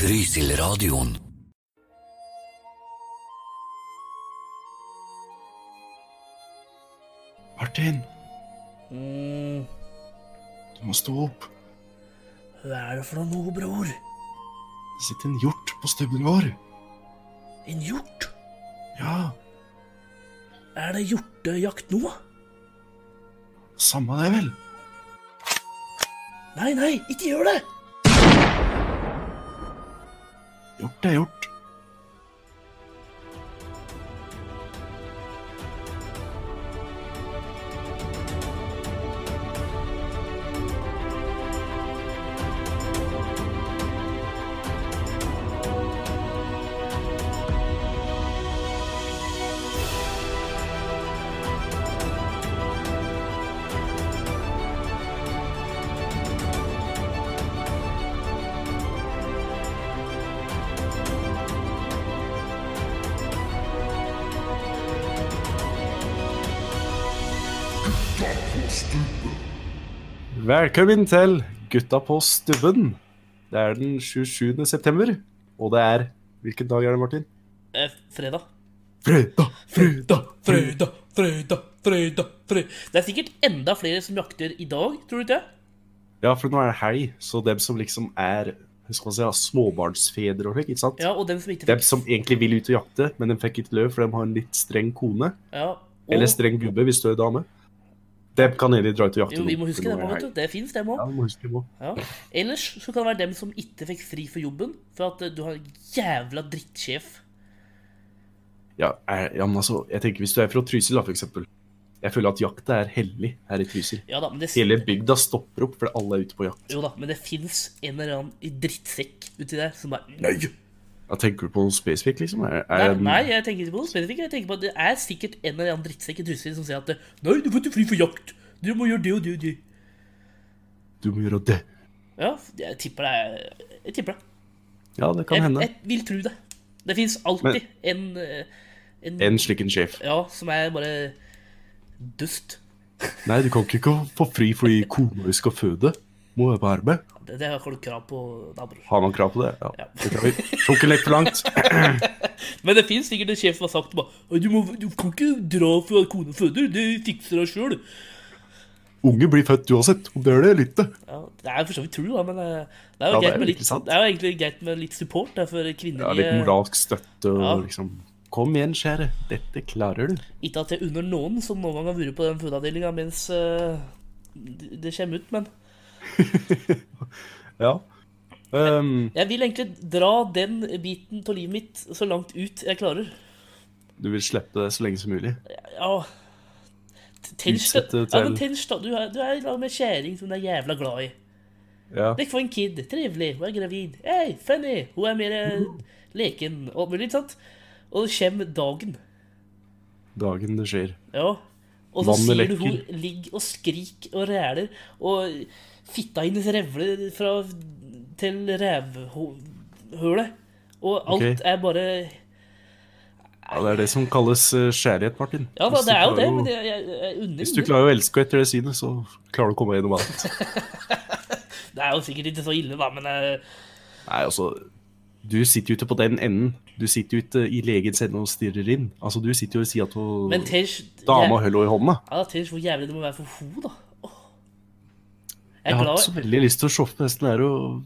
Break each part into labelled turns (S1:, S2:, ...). S1: Rysilradioen.
S2: Martin,
S3: Mm,
S2: du må stå opp.
S3: hva er det for noe, bror?
S2: Det sitter en hjort på stubben vår.
S3: En hjort?
S2: Ja,
S3: Er det hjortejakt nå?
S2: samme det vel.
S3: Nei, nei, ikke gjør det!
S2: Hjort er hjort. Velkommen til Gutta på stubben. Det er den 27. september, og det er Hvilken dag er det, Martin?
S3: Eh, fredag.
S2: Fredag, fredag,
S3: Fredag, fredag, fredag, fredag. Det er sikkert enda flere som jakter i dag, tror du ikke?
S2: Ja, for nå er det helg, så dem som liksom er hva skal man si, ja, småbarnsfedre og slik, ikke sant?
S3: Ja, og dem som ikke
S2: Dem som egentlig vil ut og jakte, men de fikk ikke løp, for de har en litt streng kone.
S3: Ja, og,
S2: Eller streng gubbe, hvis du er dame. Dem kan egentlig dra ut og jakte
S3: Jo, vi må
S2: nå,
S3: huske
S2: for nå
S3: det,
S2: er det
S3: vet du.
S2: helg.
S3: Det fins, det òg.
S2: Ja, vi må huske det må.
S3: Ja. Ellers så kan det være dem som ikke fikk fri for jobben, for at eh, du har en jævla drittsjef.
S2: Ja, er, ja, men altså, jeg tenker hvis du er fra Trysil, da, for eksempel. Jeg føler at jakta er hellig her i Trysil.
S3: Ja da, men det,
S2: Hele bygda stopper opp fordi alle er ute på jakt.
S3: jo da, men det fins en eller annen drittsekk uti der som bare Nei!
S2: Ja, tenker du på noe spesifikt, liksom? Er,
S3: Nei,
S2: er,
S3: nei, jeg tenker ikke på noe spesifikt. Jeg tenker på at Det er sikkert en eller annen drittsekk i Trysil som sier at Nei, du får ikke fly for jakt. Du må gjøre det og det og det.
S2: Du må gjøre det.
S3: Ja, jeg tipper det. er- Jeg tipper det.
S2: Ja, det kan
S3: Jeg,
S2: hende.
S3: jeg vil tro det. Det fins alltid en, eh, en,
S2: En slik en sjef.
S3: Ja, som er bare dust.
S2: Nei, du kan ikke få fri fordi kona di skal føde. Må være på arbeid.
S3: Det, det har du krav på. Da, bror.
S2: Har man krav på det? Ja.
S3: Ja.
S2: det kan vi. Tok ikke lekk for langt.
S3: Men det fins sikkert en sjef som har sagt bare, «Å, du, må, du kan ikke dra for at kona føder. Det fikser deg sjøl.
S2: Unge blir født uansett, om det er det eller ikke.
S3: Ja, det er for så vidt true, da, men eh, det er
S2: Ja, det er
S3: jo, greit,
S2: jo
S3: med litt,
S2: ikke sant.
S3: det er jo egentlig greit med litt support da, for
S2: Ja,
S3: kvinnelige
S2: litt moralsk støtte og
S3: Ja.
S2: liksom Kom igjen, kjære. Dette klarer du.
S3: Ikke at det er under noen som noen gang har vært på den fødeavdelinga mens eh, det det kommer ut, men
S2: Ja. Um,
S3: jeg vil egentlig dra den biten av livet mitt så langt ut jeg klarer.
S2: du vil slippe det så lenge som mulig.
S3: Ja t- Tench, da.
S2: Utsette
S3: Ja,
S2: til-
S3: men tench, da. Du er, du er i lag med ei kjerring som du er jævla glad i.
S2: Ja.
S3: Dekk for en kid. Trivelig. Hun er gravid. Hey, funny. Hun er mer eh, leken og alt mulig, ikke sant? Og så kommer dagen.
S2: Dagen det skjer.
S3: Ja. Og så
S2: Vannet
S3: sier du hun
S2: lekker.
S3: ligger og skriker og ræler, og fitta hennes revler fra til revhølet. Og alt
S2: Ok.
S3: er bare
S2: Ja, Det er det som kalles eh, kjærlighet, Martin.
S3: Ja da,
S2: Hvis du
S3: det er jo
S2: klarer
S3: det,
S2: å-
S3: men jeg, jeg, jeg unner
S2: Hvis du
S3: henne.
S2: klarer å elske etter det synet, så klarer du å komme gjennom alt.
S3: Det er jo sikkert ikke så ille, da, men eh,
S2: Nei, altså, du sitter jo ikke på den enden. Du sitter jo ikke i legens ende og stirrer inn. Altså, du sitter jo ved sida
S3: Men
S2: av
S3: Tej
S2: dama og
S3: jæv-
S2: hølla i hånda.
S3: Ja, Tej, hvor jævlig det må være for ho, da. Åh. Jeg
S2: Jeg
S3: er
S2: har
S3: glad
S2: ikke så veldig lyst til å shoppe hesten her og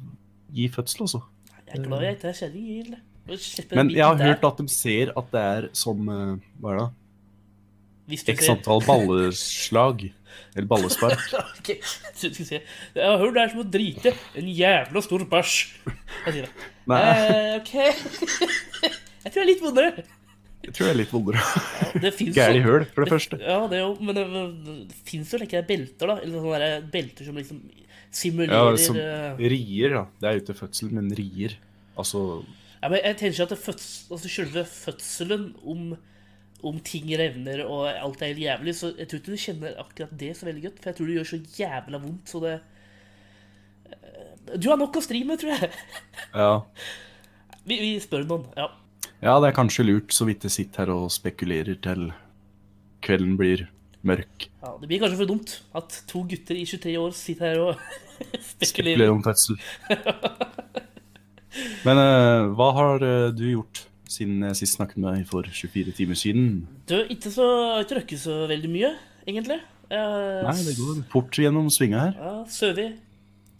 S2: gi fødsel, altså.
S3: jeg, er glad jeg ikke er kjerring. jeg vil det. Og slippe den
S2: Men jeg har
S3: biten der,
S2: hørt at de ser at det er som eh, Hva er det? da?
S3: hvis du
S2: X
S3: ser-
S2: antall balleslag. Eller ballespark.
S3: Ok, skal vi se. Jeg har hørt det er som å drite en jævla stor bæsj. Jeg sier det.
S2: Nei,
S3: Eh, ok. Jeg tror jeg er litt vondere.
S2: jeg tror jeg er litt vondere.
S3: Det fins
S2: Gæren i
S3: jo,
S2: høl, for det første.
S3: ja, det er jo, men det, det finnes jo like belter, da. Eller sånne der belter som liksom
S2: Ja,
S3: simulerer eh,
S2: som
S3: ja,
S2: rier, da. Det er jo ikke fødsel, men rier. Altså
S3: men Jeg tenker ikke at det føds, altså selve fødselen om, om ting revner og alt er helt jævlig, så jeg tror ikke du kjenner akkurat det så veldig godt. For jeg tror det gjør så jævla vondt, så det eh, Du har nok å stri med, tror jeg.
S2: Ja.
S3: Vi, vi spør noen. ja.
S2: Ja, det er kanskje lurt, så vidt jeg sitter her og spekulerer til kvelden blir mørk.
S3: Ja, Det blir kanskje for dumt at to gutter i 23 år sitter her og spekulerer.
S2: Spekulerer om fødsel. Men eh, hva har eh, du gjort siden jeg sist snakket med deg for 24 timer siden?
S3: Du, ikke så, ikke røkket så veldig mye, egentlig. Eh,
S2: Nei, det går fort gjennom svinga her.
S3: Ja, Søvi.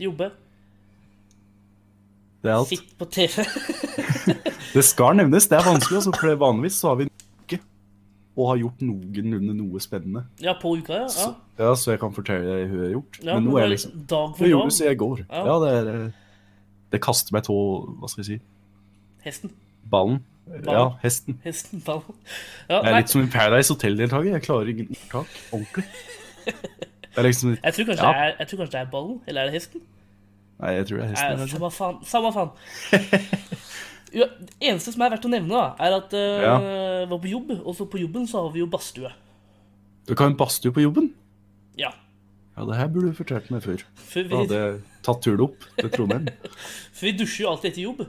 S3: Jobbe.
S2: Det er alt.
S3: Sitt på TV.
S2: Det skal nevnes, det er vanskelig, altså, for vanligvis så har vi en uke og har gjort noenlunde noe spennende.
S3: ja, på uka, ja. ja.
S2: Så, ja, så jeg kan fortelle deg hva jeg har gjort.
S3: ja
S2: men nå
S3: det
S2: er
S3: var
S2: det liksom
S3: Dag
S2: Det
S3: for
S2: gjorde
S3: dag.
S2: du så jeg i går.
S3: Ja.
S2: Ja, det, er, eh, det kaster meg tå Hva skal jeg si?
S3: Hesten.
S2: Ballen. Ja, hesten.
S3: Hesten, ballen. Ja,
S2: Jeg er
S3: nei,
S2: litt som en Paradise Hotel-deltaker. Jeg klarer ingen ordtak ordentlig. Det er liksom
S3: jeg tror, kanskje
S2: Ja.
S3: det er, jeg tror kanskje det er ballen, eller er det hesten?
S2: Nei, jeg tror det er hesten.
S3: Nei,
S2: kanskje.
S3: samme faen. Samme faen. Ja, det eneste som er verdt å nevne, da, er at eh,
S2: Ja.
S3: jeg var på jobb, og så på jobben så har vi jo badstue.
S2: Du kan jo badstue på jobben.
S3: Ja.
S2: Ja, det her burde du fortalt meg før.
S3: For
S2: Da
S3: vi,
S2: hadde jeg tatt turen opp til Trondheim.
S3: for vi dusjer jo alltid etter jobb.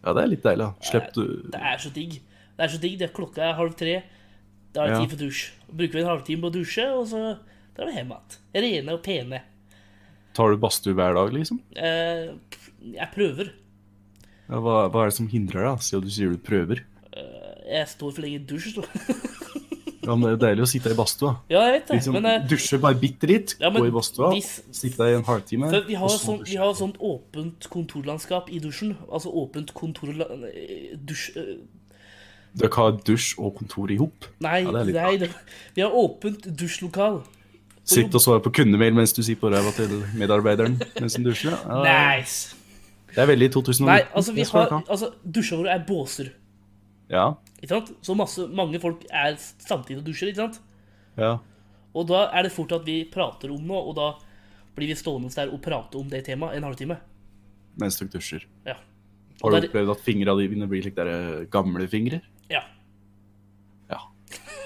S2: Ja, det er litt deilig. da. Slipp du
S3: Det er så digg. Det er så digg. Det er klokka er halv tre. Da er det
S2: Ja.
S3: tid for dusj. Bruker vi en halvtime på å dusje, og så drar vi hjem igjen. Rene og pene.
S2: Tar du badstue hver dag, liksom?
S3: Eh, jeg prøver.
S2: Ja, hva, hva er det som hindrer deg, da, siden du sier du prøver?
S3: Jeg står for lenge i dusj. så.
S2: Ja, men Det er jo deilig å sitte i badstua.
S3: Ja, jeg vet det.
S2: Liksom,
S3: men eh,
S2: dusje bare bitte litt,
S3: Ja, men
S2: gå i badstua,
S3: hvis-
S2: sitte der i en halvtime
S3: For vi har
S2: og
S3: jo
S2: så
S3: sånn,
S2: dusje.
S3: vi har jo sånt åpent kontorlandskap i dusjen. Altså åpent kontorla... eh, Dusj... eh,
S2: Dere har dusj og kontor i hop.
S3: Nei,
S2: Ja, det er litt
S3: nei det, vi har åpent dusjlokal.
S2: Sitt og svare på kundemail mens du sitter på ræva til medarbeideren mens du dusjer. Ja,
S3: Nice!
S2: Det er veldig 2019.
S3: Nei, altså, vi
S2: det skal
S3: har,
S2: dere ha.
S3: altså dusjene våre er båser.
S2: Ja,
S3: Ikke sant? Så masse, mange folk er samtidig og dusjer, ikke sant?
S2: ja.
S3: Og da er det fort at vi prater om noe, og da blir vi stående der og prate om det temaet en halvtime.
S2: Mens dere dusjer.
S3: Ja. Og
S2: Har du
S3: der-
S2: opplevd at fingra dine blir slik der eh, gamle fingre?
S3: Ja.
S2: Ja.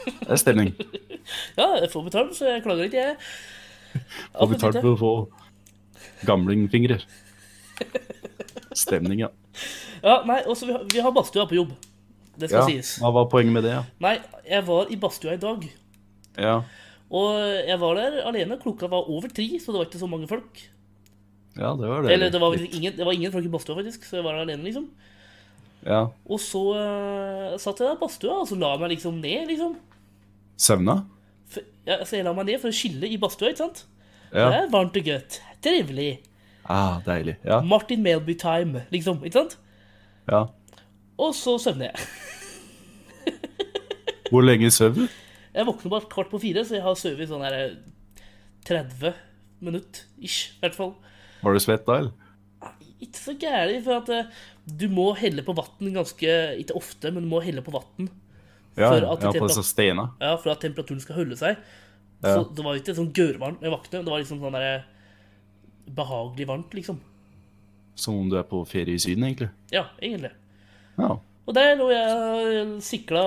S2: Det er stemning.
S3: ja, jeg får betalt, så jeg klager ikke, jeg.
S2: Får betalt for å få gamlingfingre. Stemning, ja.
S3: Ja, nei, også vi har, vi har badstua på jobb. Det
S2: ja.
S3: skal sies.
S2: Hva var poenget med det? ja?
S3: Nei, jeg var i badstua i dag.
S2: Ja,
S3: Og jeg var der alene. Klokka var over tre, så det var ikke så mange folk.
S2: ja det var det.
S3: Eller det var, vel ingen, det var ingen folk i badstua, faktisk, så jeg var der alene, liksom.
S2: Ja.
S3: Og så eh, satt jeg der i badstua, og så la jeg meg liksom ned, liksom.
S2: Søvna?
S3: For, ja, altså, så jeg la meg ned for å skille i badstua, ikke sant? Det
S2: Ja.
S3: er varmt og godt. Trivelig.
S2: Ah, deilig. Ja,
S3: Martin Melby-time, liksom. Ikke sant?
S2: ja.
S3: Og så søvner jeg.
S2: Hvor lenge søv du?
S3: Jeg våkner bare kvart på fire, så jeg har sovet i sånn her eh, 30 minutt, ish, i hvert fall.
S2: Var du svett da, eller?
S3: Ikke så gærlig, for at eh, du må helle på vann ganske Ikke ofte, men du må helle på vann
S2: Ja,
S3: For
S2: ja
S3: at det
S2: på
S3: temper-
S2: disse steina.
S3: ja, for at temperaturen skal holde seg.
S2: Ja.
S3: Så det var ikke sånn gørrvarmt når jeg våknet, det var liksom sånn der behagelig varmt, liksom.
S2: Som om du er på ferie i Syden, egentlig.
S3: Ja, egentlig.
S2: Ja.
S3: Og der lå jeg sikla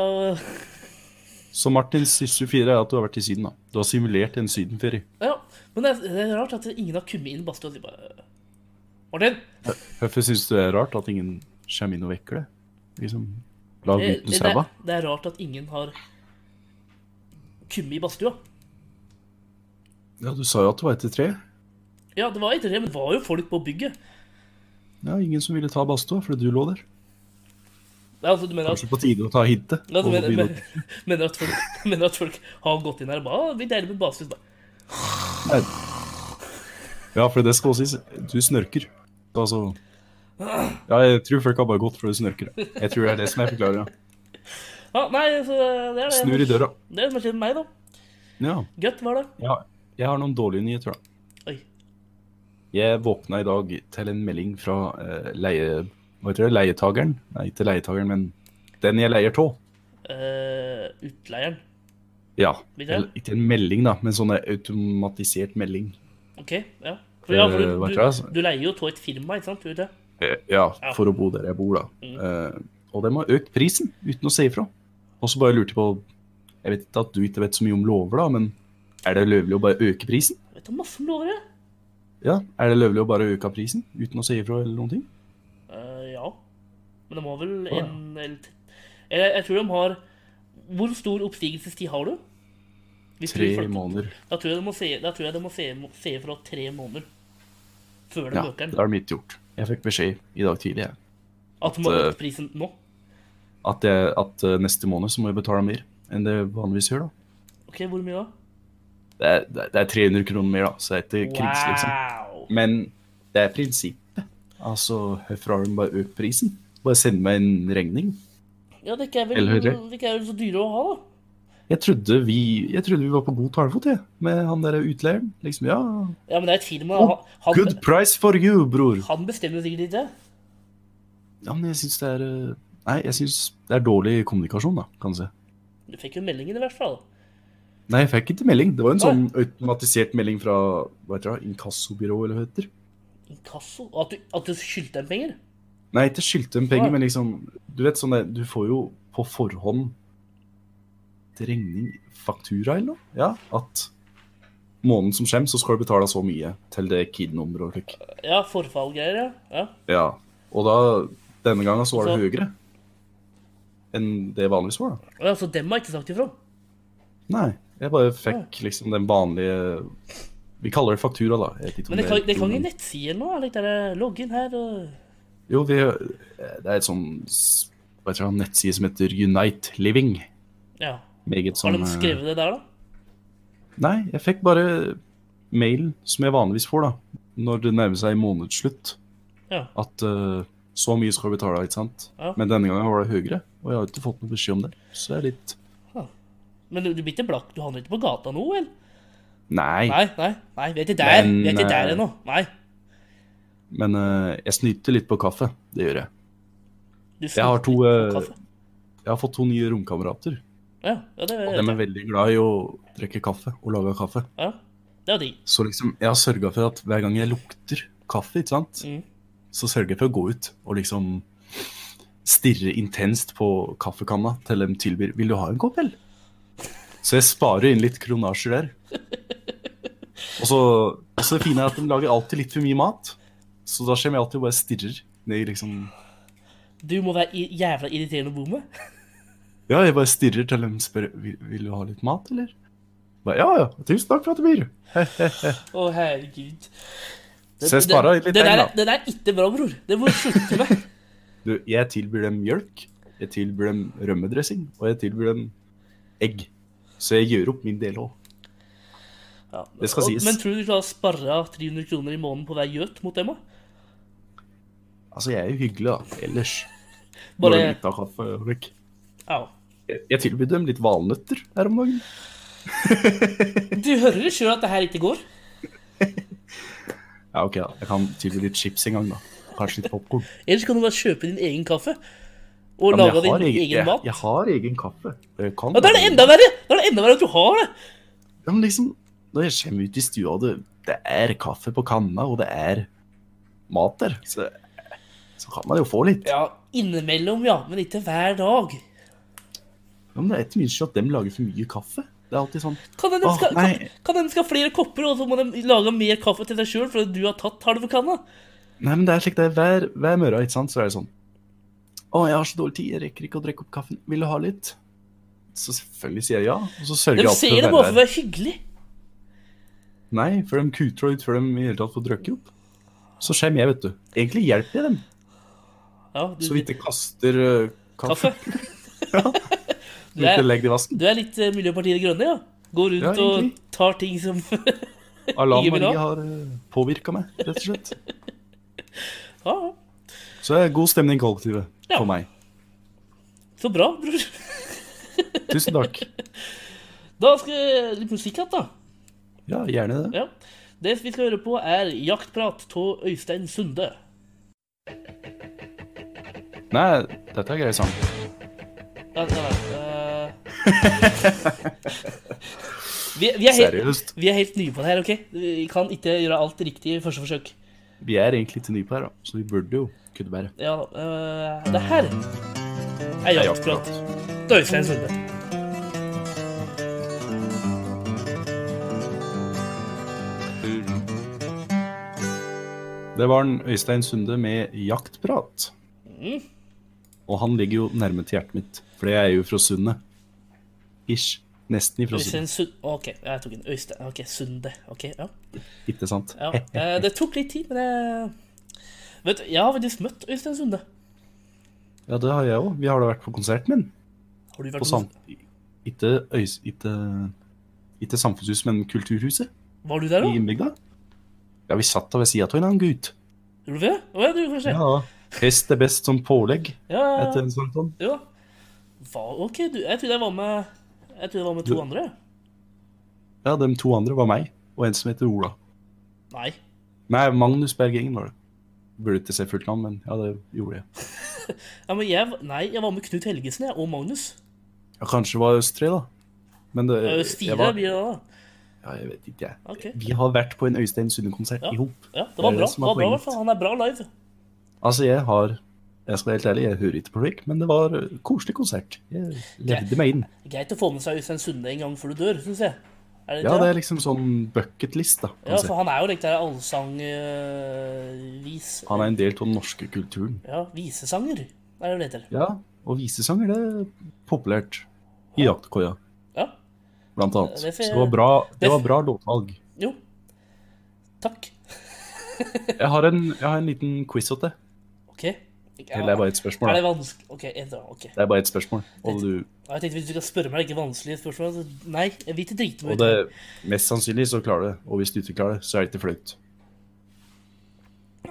S2: Så Martins siste fire er at du har vært i Syden, da. Du har simulert en sydenferie.
S3: Ja, men det er, det er rart at ingen har kommet inn i badstua og sier bare Martin!
S2: Hvorfor syns du det er rart at ingen kommer inn og vekker det? Liksom, lag
S3: eh,
S2: gutten
S3: Det,
S2: sæva?
S3: er- det er rart at ingen har kommet i badstua.
S2: Ja, du sa jo at det var etter tre.
S3: Ja, det var ikke det, men det var jo folk på bygget.
S2: Ja, ingen som ville ta badstua fordi du lå der.
S3: Nei, altså, du mener at
S2: Kanskje på tide å ta hintet.
S3: Ja, du
S2: og
S3: mener,
S2: begynne å-
S3: men, mener, at folk, mener at folk har gått inn her og bare «Å, Vi deler med basis. bare».
S2: Nei. Ja, for det skal også sies. Du snørker. Altså Ja, jeg tror folk har bare gått fordi du snørker. Jeg tror det er det som er forklaringa.
S3: Ja, nei, så det er det.
S2: Snur i døra.
S3: Det er det som har skjedd med meg, da.
S2: Ja.
S3: Godt var det.
S2: ja. Jeg har noen dårlige nyheter, da.
S3: Oi.
S2: Jeg våkna i dag til en melding fra eh, leie... Hva heter det? Leietageren? Nei, ikke leietageren, men den jeg leier tå.
S3: Eh, utleieren.
S2: Ja.
S3: Hvilken?
S2: Eller, ikke en melding, da, men sånn en automatisert melding.
S3: OK, ja. For, ja, for
S2: Eh,
S3: du,
S2: hva heter det,
S3: du,
S2: altså?
S3: du leier jo av et firma, ikke sant? Gjør du det?
S2: Eh, ja, for å bo der jeg bor, da. Eh, og de har økt prisen uten å si ifra. Og så bare lurte jeg på Jeg vet ikke at du ikke vet så mye om lover, da, men er det løvelig å bare øke prisen?
S3: Jeg vet da masse om lover, jeg.
S2: Ja, Er det løvelig å bare øke prisen uten å si ifra eller noen ting?
S3: Eh, ja. Men de har vel
S2: ja.
S3: en eller t- Eller jeg tror de har Hvor stor oppstigelsestid har du? Hvis du
S2: Tre
S3: følger-
S2: måneder.
S3: Da tror jeg de må se, da tror jeg de må se, se fra tre måneder før de
S2: Ja,
S3: øker
S2: det
S3: den.
S2: er mitt gjort. Jeg fikk beskjed i dag tidlig jeg,
S3: At man
S2: eh,
S3: øker prisen nå?
S2: at, jeg, at eh, neste måned så må jeg betale mer enn det jeg vanligvis gjør. da.
S3: Ok, hvor mye da?
S2: Det er, det er- det er 300 kroner mer, da, så det er ikke krise, liksom.
S3: Wow!
S2: Men det er prinsippet. Altså, hvorfor har de bare økt prisen? Bare send meg en regning.
S3: Ja, det er ikke vel,
S2: Eller
S3: det
S2: høyere.
S3: er vel så dyre å ha, da.
S2: Jeg trodde vi, jeg trodde vi var på god talefot, jeg, med han der utleieren. Liksom, ja,
S3: Ja, men det er et firma.
S2: Oh,
S3: han- Han,
S2: good price for you, bror.
S3: han bestemmer jo sikkert ikke.
S2: Ja, men jeg syns det er eh, Nei, jeg synes det er dårlig kommunikasjon, da, kan du si.
S3: Du fikk jo meldingen i hvert fall.
S2: Nei, jeg fikk ikke melding. Det var en
S3: Nei.
S2: sånn automatisert melding fra hva heter det, inkassobyrå, eller hva det heter.
S3: Inkasso? At du, at du skyldte dem penger?
S2: Nei, ikke skyldte dem penger,
S3: Nei.
S2: men liksom Du vet sånn der, du får jo på forhånd til regning faktura eller noe. Ja, at måneden som kommer, så skal du betale så mye til det KID-nummeret og slik.
S3: Ja, forfallgreier, ja. ja.
S2: Ja. Og da Denne gangen så var det
S3: Så-
S2: høyere enn det vanligvis var, da.
S3: Å ja, så dem har ikke sagt ifra?
S2: Nei. Jeg bare fikk liksom den vanlige Vi kaller det faktura, da. Jeg vet ikke om
S3: Men det kan,
S2: er
S3: det kan
S2: riktig,
S3: ikke
S2: men-
S3: nettsider nå? Eller der, eh, logg inn her og
S2: Jo, vi, det er et sånn s- hva heter det, nettside som heter Unite Living.
S3: Ja.
S2: Meget
S3: Har
S2: sånn
S3: de
S2: eh,
S3: skrevet det der, da?
S2: Nei, jeg fikk bare mail som jeg vanligvis får, da. Når det nærmer seg månedsslutt.
S3: Ja.
S2: At eh, så mye skal du betale, ikke sant.
S3: Ja.
S2: Men denne gangen var det høyere, og jeg har ikke fått noen beskjed om det. Så det er litt
S3: Men du, du blir ikke blakk? Du handler ikke på gata nå, vel?
S2: Nei.
S3: Nei, nei. nei, Vi er ikke der
S2: Men,
S3: Vi er ikke der
S2: eh,
S3: ennå. Nei.
S2: Men eh, jeg snyter litt på kaffe. Det gjør jeg.
S3: Du
S2: Jeg har to,
S3: slutter på
S2: eh,
S3: kaffe.
S2: Jeg har fått to nye romkamerater.
S3: Ja, ja, det,
S2: De er veldig glad i å drikke kaffe og lage kaffe.
S3: ja, det er digg.
S2: Så liksom, jeg har sørga for at hver gang jeg lukter kaffe, ikke sant,
S3: Mm.
S2: så sørger jeg for å gå ut og liksom stirre intenst på kaffekanna til de tilbyr 'Vil du ha en kopp, eller?' Så jeg sparer inn litt kronasjer der. Og så, og så finner jeg at de lager alltid litt for mye mat, så da kommer jeg alltid og bare stirrer ned i liksom
S3: Du må være i- jævla irriterende å bo med.
S2: Ja, jeg bare stirrer til de spør vil, 'Vil du ha litt mat, eller?' Bare, ja, ja. Tusen takk for at du byr.
S3: Å, herregud. Det-
S2: Så jeg
S3: det-
S2: sparer litt
S3: det der,
S2: penger, da.
S3: er- Det der er ikke bra, bror. Det må du slutte med.
S2: Du, jeg tilbyr dem mjølk, jeg tilbyr dem rømmedressing, og jeg tilbyr dem egg. Så jeg gjør opp min del òg.
S3: Ja.
S2: Det skal
S3: og,
S2: sies.
S3: Men tror du du klarer å sparre 300 kroner i måneden på hver gjøt mot dem? da?
S2: Altså, jeg er jo hyggelig, da. Ellers. Bare
S3: Bare
S2: litt av kaffe og slik.
S3: Au.
S2: Jeg jeg tilbyr dem litt valnøtter her om dagen.
S3: Du hører jo sjøl at det her ikke går.
S2: Ja, OK, da. Jeg kan tilby litt chips en gang, da. Kanskje litt popkorn.
S3: Ellers kan du bare kjøpe din egen kaffe. Og
S2: Ja, men
S3: lage
S2: jeg har
S3: din egen,
S2: egen, jeg,
S3: mat.
S2: jeg har egen kaffe. Jeg kan
S3: Og da er det enda verre! Da er det enda verre at du har det.
S2: Ja, men liksom, når jeg kommer ut i stua, og det, det er kaffe på kanna, og det er mat der, så, så kan man jo få litt.
S3: Ja, innimellom, ja. Men ikke hver dag.
S2: Ja, men det er ikke minst at dem lager for mye kaffe. Det er alltid sånn
S3: Kan hende de
S2: Åh,
S3: skal,
S2: nei.
S3: kan, kan hende de skal ha flere kopper, og så må de lage mer kaffe til deg sjøl fordi du har tatt halve kanna.
S2: Nei, men det er slik det er hver, hver morgen, ikke sant, så er det sånn Å, jeg har så dårlig tid, jeg rekker ikke å drikke opp kaffen. Vil du ha litt? Så selvfølgelig sier jeg ja, og så sørger
S3: De
S2: jeg alltid
S3: sier
S2: for
S3: det
S2: å
S3: bare for å
S2: være der.
S3: være hyggelig.
S2: Nei, for de kuter ut før de i hele tatt får drukket opp. Så skjer jeg, vet du. Egentlig hjelper jeg dem,
S3: Ja, du,
S2: så vidt jeg kaster øh, kaffe.
S3: kaffe.
S2: Så
S3: Du
S2: vidt
S3: er,
S2: jeg legger det i vasken.
S3: du er litt eh, Miljøpartiet De Grønne, ja? Går
S2: Ja,
S3: rundt og
S2: egentlig.
S3: tar ting som
S2: Alan
S3: Ingen vil ha.
S2: Marie har øh, påvirka meg, rett og slett.
S3: Ja,
S2: Så det er god stemning i kollektivet
S3: Ja.
S2: for meg.
S3: så bra, bror.
S2: Tusen takk.
S3: Da skal jeg litt musikk igjen, da.
S2: Ja, gjerne det.
S3: Ja. Det vi skal høre på, er Jaktprat av Øystein Sunde.
S2: Nei, dette er grei sang.
S3: Ja, ja, ja, eh. vi, vi, er helt,
S2: Seriøst.
S3: vi er helt nye på det her, OK? Vi kan ikke gjøre alt riktig i første forsøk.
S2: Vi er egentlig ikke nye på her, da, så vi burde jo kunne være
S3: Ja, eh, det her er
S2: Det er
S3: Jaktprat
S2: jaktprat.
S3: av Øystein Sunde.
S2: Det var en Øystein Sunde med jaktprat.
S3: Mm.
S2: Og han ligger jo nærme til hjertet mitt, for jeg er jo fra Sundet. Ish. Nesten ifra Sundet,
S3: Øystein Sunde OK, jeg tok en Øystein OK, Sunde. OK, ja.
S2: ikke sant?
S3: ja. Eh, Det tok litt tid, men det Vet du, Jeg har faktisk møtt Øystein Sunde.
S2: Ja, det har jeg òg. Vi har da vært på konserten min.
S3: Har du
S2: På
S3: vært
S2: sam... Ikke, øys... ikke, ikke Samfunnshuset, men Kulturhuset
S3: Var du der,
S2: i
S3: da?
S2: innbygda. Ja, vi satt da ved sida av en annen gutt.
S3: Gjorde du det? Å, ja, du, kanskje. Ja,
S2: Ja. Hest er best som pålegg
S3: ja, ja.
S2: etter en sånn.
S3: Jo da. Hva- OK, du, jeg trodde jeg var med Jeg trodde jeg var med to
S2: Du-
S3: andre.
S2: Ja, de to andre var meg og en som heter Ola.
S3: Nei.
S2: Nei, Magnus Bergengen var det. Burde ikke se fullt navn, men ja, det gjorde jeg.
S3: Ja, men jeg, nei, jeg var med Knut Helgesen jeg, og Magnus.
S2: Ja, kanskje det var oss tre, da. Men det,
S3: Jeg,
S2: jeg
S3: fire
S2: var,
S3: blir det da.
S2: ja, jeg vet ikke, jeg.
S3: Ok.
S2: Vi har vært på en Øystein Sunde-konsert
S3: Ja.
S2: ihop. i hop.
S3: Ja,
S2: Det
S3: det
S2: er
S3: var
S2: det
S3: bra.
S2: som
S3: Det
S2: er
S3: var bra i
S2: poenget.
S3: hvert fall. Han er bra live.
S2: Altså, jeg har Jeg skal være helt ærlig, jeg hører ikke på Rick, men det var eh, koselig konsert. Jeg levde meg inn.
S3: Greit å få med seg Øystein Sunde en gang før du dør, syns jeg. Er det
S2: Ja,
S3: ikke
S2: det
S3: det?
S2: er liksom sånn bucketlist, da.
S3: Ja,
S2: kan du si.
S3: for han er jo litt der allsangvis
S2: Han er en del av den norske kulturen.
S3: Ja, visesanger, er det det heter.
S2: Ja, og visesanger, det er populært. I jaktkoia,
S3: Ja.
S2: blant annet.
S3: Det er for-
S2: Så det var bra,
S3: det er
S2: det var
S3: for-
S2: bra låtvalg.
S3: Jo. Takk.
S2: Jeg har en, jeg har en liten quiz åt deg.
S3: OK. Ja,
S2: Eller det er bare et spørsmål. da.
S3: er det vanskelig OK. Jeg, da, ok.
S2: Det er bare et spørsmål. Og, du,
S3: Ja, jeg tenkte hvis du skal spørre meg ikke vanskelige spørsmål så Nei, jeg vil ikke drite
S2: og
S3: meg
S2: det,
S3: ut.
S2: mest sannsynlig så klarer du det. Og hvis du ikke klarer det, så er det ikke flaut.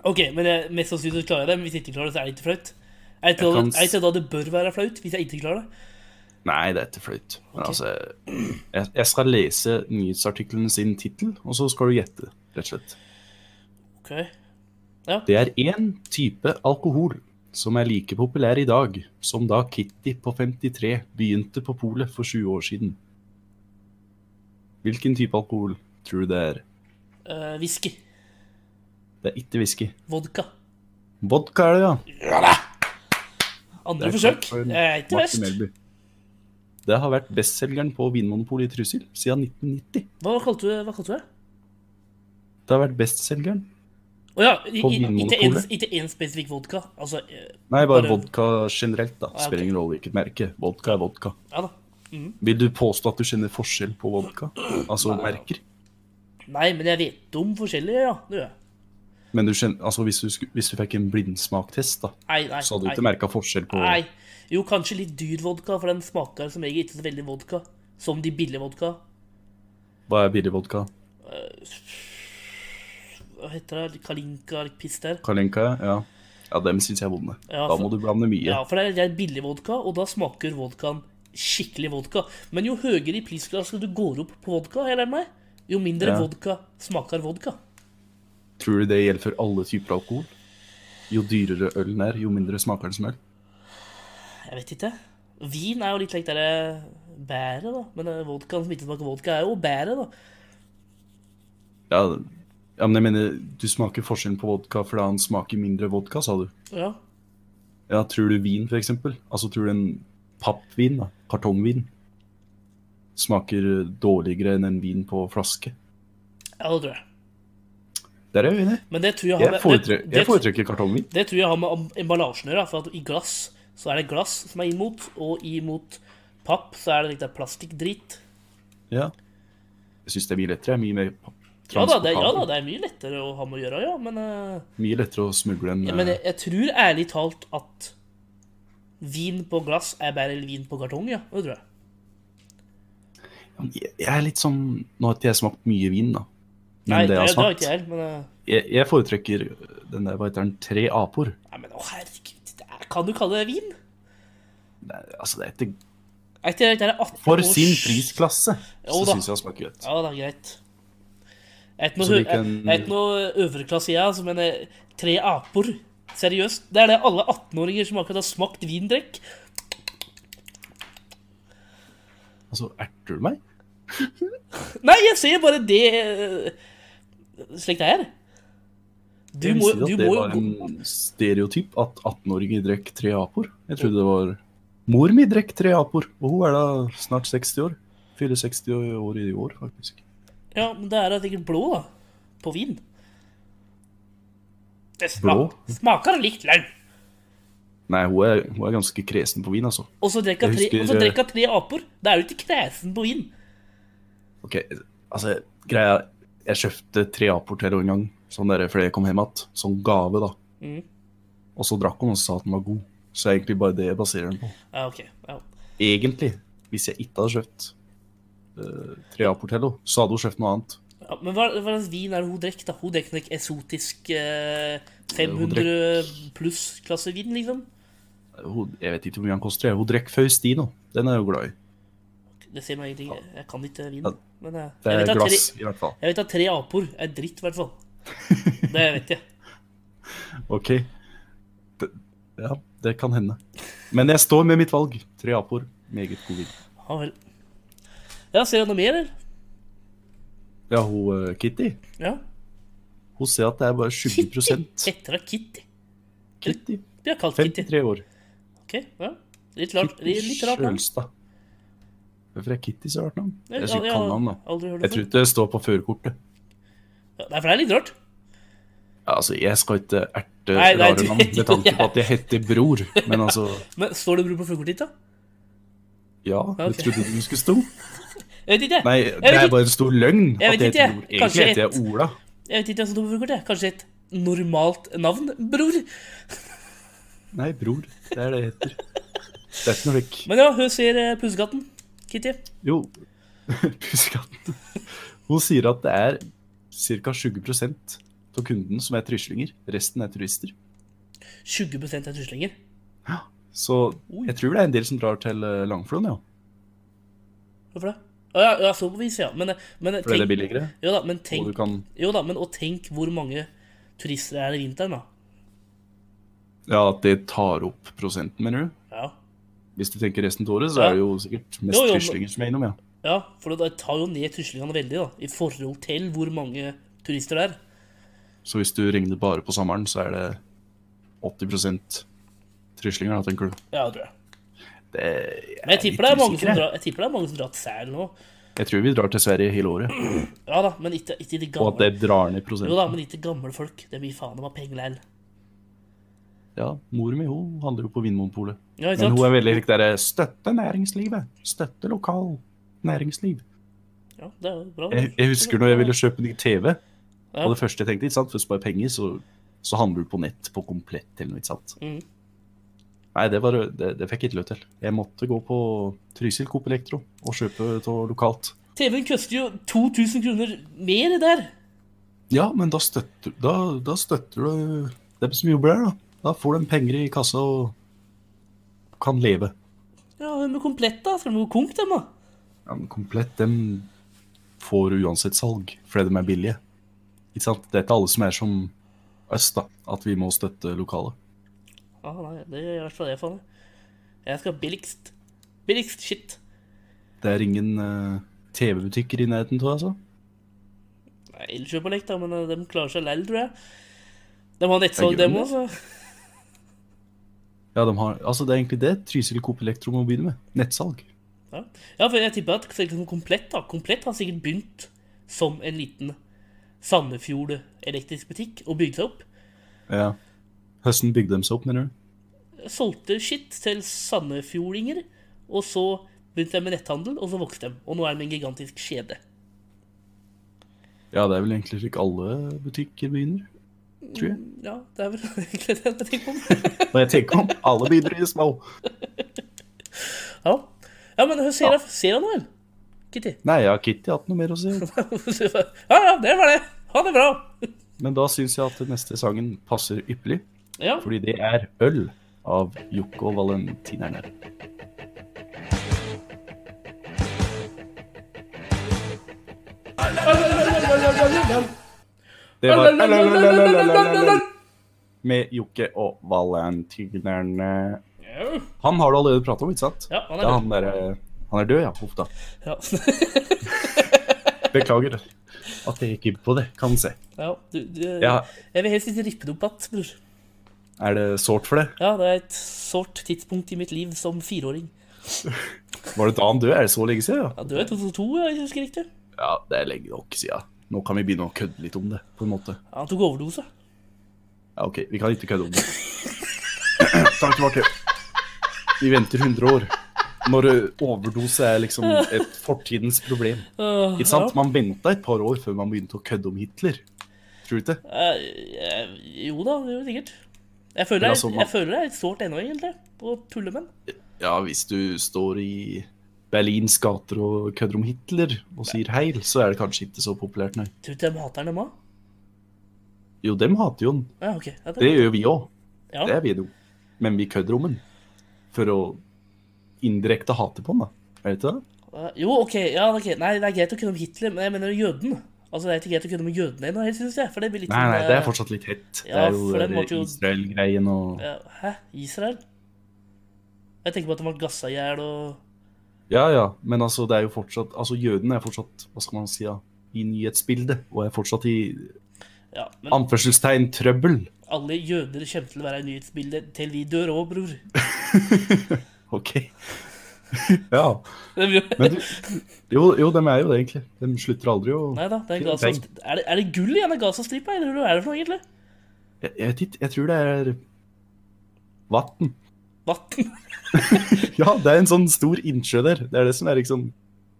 S3: OK, men jeg, mest sannsynlig klarer jeg det. Men hvis jeg ikke klarer det, så er det ikke flaut. Er det ikke
S2: Jeg
S3: da,
S2: kan s-
S3: er det ikke da det bør være flaut? Hvis jeg ikke klarer det?
S2: Nei, det er ikke flaut. Men altså jeg, jeg skal lese nyhetsartikkelen sin tittel, og så skal du gjette, rett og slett.
S3: OK.
S2: Det er én type alkohol som er like populær i dag som da Kitty på 53 begynte på polet for 20 år siden. Hvilken type alkohol tror du det er?
S3: Eh, whisky.
S2: Det er ikke whisky.
S3: Vodka.
S2: Vodka er det, ja.
S3: Andre
S2: Det er
S3: forsøk.
S2: klart for
S3: Jeg er ikke
S2: Martin
S3: verst.
S2: Melby. Det har vært bestselgeren på Vinmonopolet i Trysil siden 1990.
S3: Hva kalte du, hva kalte du det?
S2: Det har vært bestselgeren.
S3: Å ja, i-
S2: På
S3: i- ikke en-
S2: Vinmonopolet.
S3: ikke én spesifikk vodka. Altså eh,
S2: Nei, bare
S3: Bare-
S2: vodka generelt, da.
S3: Ah, ok.
S2: Spiller ingen rolle hvilket merke. Vodka er vodka.
S3: Ja da.
S2: Vil du påstå at du kjenner forskjell på vodka? Altså merker?
S3: Nei, men jeg vet om forskjellige, ja. Det gjør jeg.
S2: Men du kjenner, altså hvis du, sku- hvis du fikk en blindsmaktest, da,
S3: Nei, nei.
S2: så hadde du
S3: nei.
S2: ikke merka forskjell på
S3: Nei. Jo, kanskje litt dyr vodka, for den smaker som regel ikke så veldig vodka. Som de billige vodka.
S2: hva er billig vodka?
S3: Hva heter det? Kalinka piss der.
S2: Kalinka, ja. Ja, dem syns jeg er vonde.
S3: Ja,
S2: da
S3: for-
S2: må du blande mye.
S3: Ja, for det er billig vodka, og da smaker vodkaen skikkelig vodka. Men jo høyere i prisklasse du går opp på vodka, eller meg, jo mindre
S2: Ja.
S3: vodka smaker vodka.
S2: Tror du det gjelder for alle typer alkohol? Jo dyrere ølen er, jo mindre smaker den som øl.
S3: Jeg vet ikke. Vin er jo litt like derre bæret, da. Men eh, vodkaen som ikke smaker vodka, er jo bæret, da.
S2: Ja, ja, men jeg mener, du smaker forskjellen på vodka fordi han smaker mindre vodka, sa du.
S3: Ja.
S2: Ja, tror du vin, for eksempel? Altså, tror du en pappvin, da, kartongvin, smaker dårligere enn en vin på flaske?
S3: ja, det tror jeg.
S2: Der er jeg uenig.
S3: Men det tror jeg har
S2: Jeg
S3: med, det,
S2: foretrekker,
S3: det,
S2: jeg foretrekker kartongvin.
S3: det tror jeg har med am- emballasjen å gjøre. For at i glass så er det glass som er imot, og imot papp så er det litt der plastikkdrit.
S2: Ja. Jeg syns det er mye lettere. Jeg er mye mer pa-
S3: Ja da, det, ja da,
S2: transportabel.
S3: det er mye lettere å ha med å gjøre, ja, men eh,
S2: Mye lettere å smugle enn
S3: ja, Men
S2: eh,
S3: jeg, jeg tror ærlig talt at vin på glass er bedre enn vin på kartong, ja. Det tror jeg.
S2: eh, jeg, jeg er litt sånn Nå har ikke jeg smakt mye vin, da. Men
S3: Nei,
S2: det jeg har
S3: har
S2: smakt
S3: ikke jeg heller, men eh,
S2: jeg, jeg foretrekker den der, hva heter den, tre apor.
S3: Nei, men å herregud, det er, kan du kalle det vin?
S2: Det er, altså, det er ikke
S3: Er ikke det- det er 18
S2: For
S3: års-
S2: sin prisklasse, så
S3: Jo da.
S2: syns jeg det smaker godt.
S3: Ja, det er greit. Jeg er ikke
S2: Så
S3: noe,
S2: vi kan-
S3: jeg er ikke noe øvre klasse, jeg, altså, men eh, tre apor Seriøst. Det er det alle 18-åringer som akkurat har smakt vindrekk.
S2: Altså, erter du meg?
S3: Nei, jeg ser bare det eh, slik det er. Du
S2: Jeg
S3: må,
S2: visste ikke at
S3: du må
S2: det
S3: jo
S2: var
S3: gå
S2: en stereotyp at 18-åringer drekk tre apor. Jeg trodde det var Mor mi drekk tre apor, og hun er da snart 60 år. Fyller 60 år i år, faktisk.
S3: Ja, men det er da sikkert blå, da. På vin. Det
S2: Blå?
S3: smak, smaker likt løgn.
S2: Nei, hun er, hun er ganske kresen på vin, altså.
S3: Og så drikker
S2: Jeg
S3: tre,
S2: husker,
S3: og så
S2: eh,
S3: drikker tre apor. Da er du ikke kresen på vin.
S2: Ok, altså, greia Jeg kjøpte tre apor til henne en gang, sånn der, fordi jeg kom hjem igjen. Som gave, da.
S3: Mhm.
S2: Og så drakk hun og sa at den var god. Så det er egentlig bare det jeg baserer den på.
S3: Ja, ok. Ja.
S2: Egentlig, hvis jeg ikke hadde kjøpt uh, Triaportello, så hadde hun kjøpt noe annet.
S3: Ja, men hva, hva slags vin er det hun drikker? da? Hun drikker nok esotisk eh, 500
S2: drekk-
S3: pluss klasse vin, liksom?
S2: Hun, jeg vet ikke hvor mye han koster. jeg. Hun drakk Faustino. Den er jeg jo glad i.
S3: Det sier meg ingenting. Jeg- Jeg kan ikke vin.
S2: Ja,
S3: Men jeg,
S2: Det
S3: jeg,
S2: er
S3: vet at tre,
S2: glass, i hvert fall.
S3: jeg vet at tre apor er dritt, i hvert fall. Det vet jeg.
S2: OK. Det, ja, det kan hende. Men jeg står med mitt valg. Tre apor, meget god vin.
S3: Ja vel. Ja, ser jeg noe mer, eller?
S2: Ja, hun eh, Kitty,
S3: Ja.
S2: hun ser at det er bare 20 Kitty.
S3: Heter hun Kitty?
S2: Kitty.
S3: Vi har kalt Kitty.
S2: 53 år.
S3: Ok, ja. Litt, rart-
S2: Kitty
S3: litt rart navn.
S2: Sjølstad. Hvorfor er Kitty så rart navn?
S3: Jeg
S2: Jeg
S3: har-
S2: skal
S3: jeg
S2: ikke
S3: har
S2: kalle navn, da.
S3: Aldri hørt
S2: Jeg
S3: det
S2: tror
S3: før.
S2: ikke det står på førerkortet.
S3: Ja, Nei, for det er litt rart.
S2: Altså, jeg skal ikke erte
S3: Nei, nei,
S2: rare
S3: du-
S2: navn med tanke på at jeg heter Bror, men altså
S3: Men står det bror på førerkortet ditt, da?
S2: Ja,
S3: Ok.
S2: jeg trodde du skulle stå.
S3: Jeg vet ikke. jeg.
S2: Nei, det
S3: vet
S2: er
S3: ikke.
S2: bare en stor løgn
S3: Jeg
S2: at
S3: vet
S2: jeg
S3: ikke,
S2: heter Bror.
S3: jeg. Kanskje
S2: Egentlig heter jeg Ola.
S3: Jeg vet ikke hvem som tok på førerkortet. Kanskje et normalt navn, bror?
S2: Nei, Bror. Det er det jeg heter. Det er ikke noe vekk.
S3: Men ja, hun ser eh, pussekatten. Kitty.
S2: Jo, pussekatten Hun sier at det er ca. 20 av kunden som er tryslinger. Resten er turister.
S3: 20 er tuslinger.
S2: Så
S3: Oi.
S2: jeg tror det er en del som drar til eh, Langflon, ja.
S3: Hvorfor det? Å ja, ja, så på vis, ja. Men, eh, men eh,
S2: Fordi det er
S3: tenk,
S2: billigere.
S3: jo, da, men
S2: Og
S3: tenk,
S2: du kan
S3: jo da, men og tenk hvor mange turister det er i vinteren, da.
S2: Ja, at det tar opp prosenten, mener du?
S3: Ja,
S2: Hvis du tenker resten av året, så
S3: Ja.
S2: er det jo sikkert mest
S3: Jo, jo, men-
S2: tryslinger som er innom, ja.
S3: ja for det tar jo ned tuslingene veldig, da. I forhold til hvor mange turister det er.
S2: Så hvis du regner bare på sommeren, så er det 80 tryslinger, da, tenker du.
S3: Ja, det tror jeg.
S2: Det jeg
S3: Men jeg
S2: litt
S3: tipper det er mange som
S2: usikker, jeg.
S3: drar, jeg tipper det er mange som drar til Sælen nå.
S2: Jeg tror vi drar til Sverige hele året,
S3: Ja da, men ikke, ikke de
S2: og at
S3: gamle.
S2: det drar ned
S3: Jo
S2: prosenten.
S3: da, men ikke gamle folk. Det blir faen meg penger læl.
S2: Ja, mor mi hun handler jo på Vinmonopolet.
S3: Ja, ikke
S2: Men hun
S3: sant?
S2: er veldig lik derre støtte næringslivet, støtte lokal næringsliv.
S3: Ja, det er jo bra.
S2: Jeg, jeg husker når jeg ville kjøpe ny TV,
S3: Ja.
S2: og det første jeg tenkte, ikke sant, for å spare penger, så, så handler du på nett på komplett eller noe, ikke sant.
S3: Mhm.
S2: Nei, det, var, det, det fikk jeg ikke løp til. Jeg måtte gå på Trysil Coop Elektro og kjøpe av lokalt.
S3: TV-en koster jo 2000 kroner mer der.
S2: Ja, men da støtter, da, da støtter du dem som jobber der, da. Da får de penger i kassa og kan leve.
S3: Ja, med komplett, da. Skal de gå konk, dem, da?
S2: Ja, men komplett, dem får uansett salg, fordi de er billige. Ikke sant? Det er ikke alle som er som oss, da, at vi må støtte lokale.
S3: Ja, nei, det gjør i hvert fall jeg, faen. Jeg skal billigst. Billigst shit.
S2: Det er ingen eh, TV-butikker i nærheten, tror jeg, altså.
S3: Nei, Elkjøp og lekt, da, men eh, de klarer seg læl, tror jeg. De har nettsalg,
S2: Det er
S3: dem
S2: grunnen,
S3: òg, så
S2: Ja, de har, altså, det er egentlig det Trysil Coop Elektro må begynne med. Nettsalg.
S3: Ja. ja, for jeg tipper at selv som Komplett da, Komplett har sikkert begynt som en liten Sandefjord elektrisk butikk og bygd seg opp.
S2: Ja. Høsten bygde de seg opp, mener du?
S3: Solgte skitt til sandefjordinger, og så begynte de med netthandel, og så vokste de. Og nå er de en gigantisk kjede.
S2: Ja, det er vel egentlig slik alle butikker begynner, tror jeg.
S3: Ja, det er vel egentlig det jeg tenker om.
S2: Når jeg tenker om, alle begynner i det små.
S3: Ja, ja men hør, ser
S2: Ja.
S3: jeg ser jeg noe, eller? Kitty?
S2: Nei, jeg har Kitty hatt noe mer å si.
S3: Ja, ja, det var det. Ha det bra.
S2: Men da syns jeg at den neste sangen passer ypperlig,
S3: Ja,
S2: fordi det er 'Øl' av Jokke og Valentinerne. Det var «Øl, øl, øl, øl, øl, øl, øl, øl», med Jokke og Valentinerne. Han har du allerede pratet om, ikke sant?
S3: Ja, han er
S2: Det
S3: død.
S2: han, der, eh, han er død, ja. Huff da.
S3: ja.
S2: Beklager at jeg gikk inn på det, kan se.
S3: ja du, du,
S2: Ja,
S3: Jeg vil helst ikke rippe det opp igjen, bror.
S2: er det sårt for det?
S3: Ja, det er et sårt tidspunkt i mitt liv som fireåring.
S2: Var det da han døde? Er det så lenge siden? Ja?
S3: Ja, du er 2002, ja, hvis jeg husker riktig.
S2: ja, det er lenge nok siden. Nå kan vi begynne å kødde litt om det, på en måte.
S3: Ja, han tok overdose.
S2: Ja, ok, vi kan ikke kødde om det. Ta den tilbake. Vi venter 100 år. Når ø, overdose er liksom et fortidens problem.
S3: Uh,
S2: Ikke sant? Man venta et par år før man begynte å kødde om Hitler. Tror du ikke?
S3: Ja. Eh, eh, jo da, det gjør det sikkert. Jeg føler, det
S2: Men
S3: er-
S2: altså, man-
S3: jeg føler det er litt sårt ennå, egentlig, å tulle med den.
S2: Ja, hvis du står i Berlins gater og kødder om Hitler og sier heil, så er det kanskje ikke så populært, nei.
S3: Tror du de hater den, dem òg?
S2: Jo, dem hater jo den.
S3: Ja, OK. Ja,
S2: Det
S3: det,
S2: gjør vi òg.
S3: ja.
S2: Det er vi jo. Men vi kødder om den. For å indirekte hate på den, da. Er det ikke det?
S3: Eh, Jo, ok, ja, ok. Nei, det er greit å kunne om Hitler, men jeg mener jøden. Altså, Det er ikke greit å kunne om jødene ennå, helt, synes jeg. For det blir litt
S2: Nei, nei,
S3: sånn,
S2: det er
S3: eh,
S2: fortsatt litt hett. Det
S3: ja,
S2: er jo
S3: for den
S2: der
S3: måtte jo-
S2: Israel-greien og
S3: ja, Hæ? Israel? Jeg tenker på at de ble gassa i hjel og
S2: Ja, ja, men altså, det er jo fortsatt Altså, jødene er fortsatt, hva skal man si, ja, i nyhetsbildet, og er fortsatt i
S3: Ja, men
S2: anførselstegn trøbbel.
S3: alle jøder kommer til å være i nyhetsbildet til vi dør òg, bror.
S2: OK. ja.
S3: Nei
S2: Men du Jo, jo de er jo det, egentlig. De slutter aldri å
S3: da, den
S2: Fin
S3: Gaza,
S2: ting.
S3: er, det, er det gull i denne Gazastripa, eller hva er det for noe, egentlig?
S2: jeg, jeg vet ikke, jeg tror det er vann.
S3: Vatten?
S2: Ja, det er en sånn stor innsjø der. Det er det som er liksom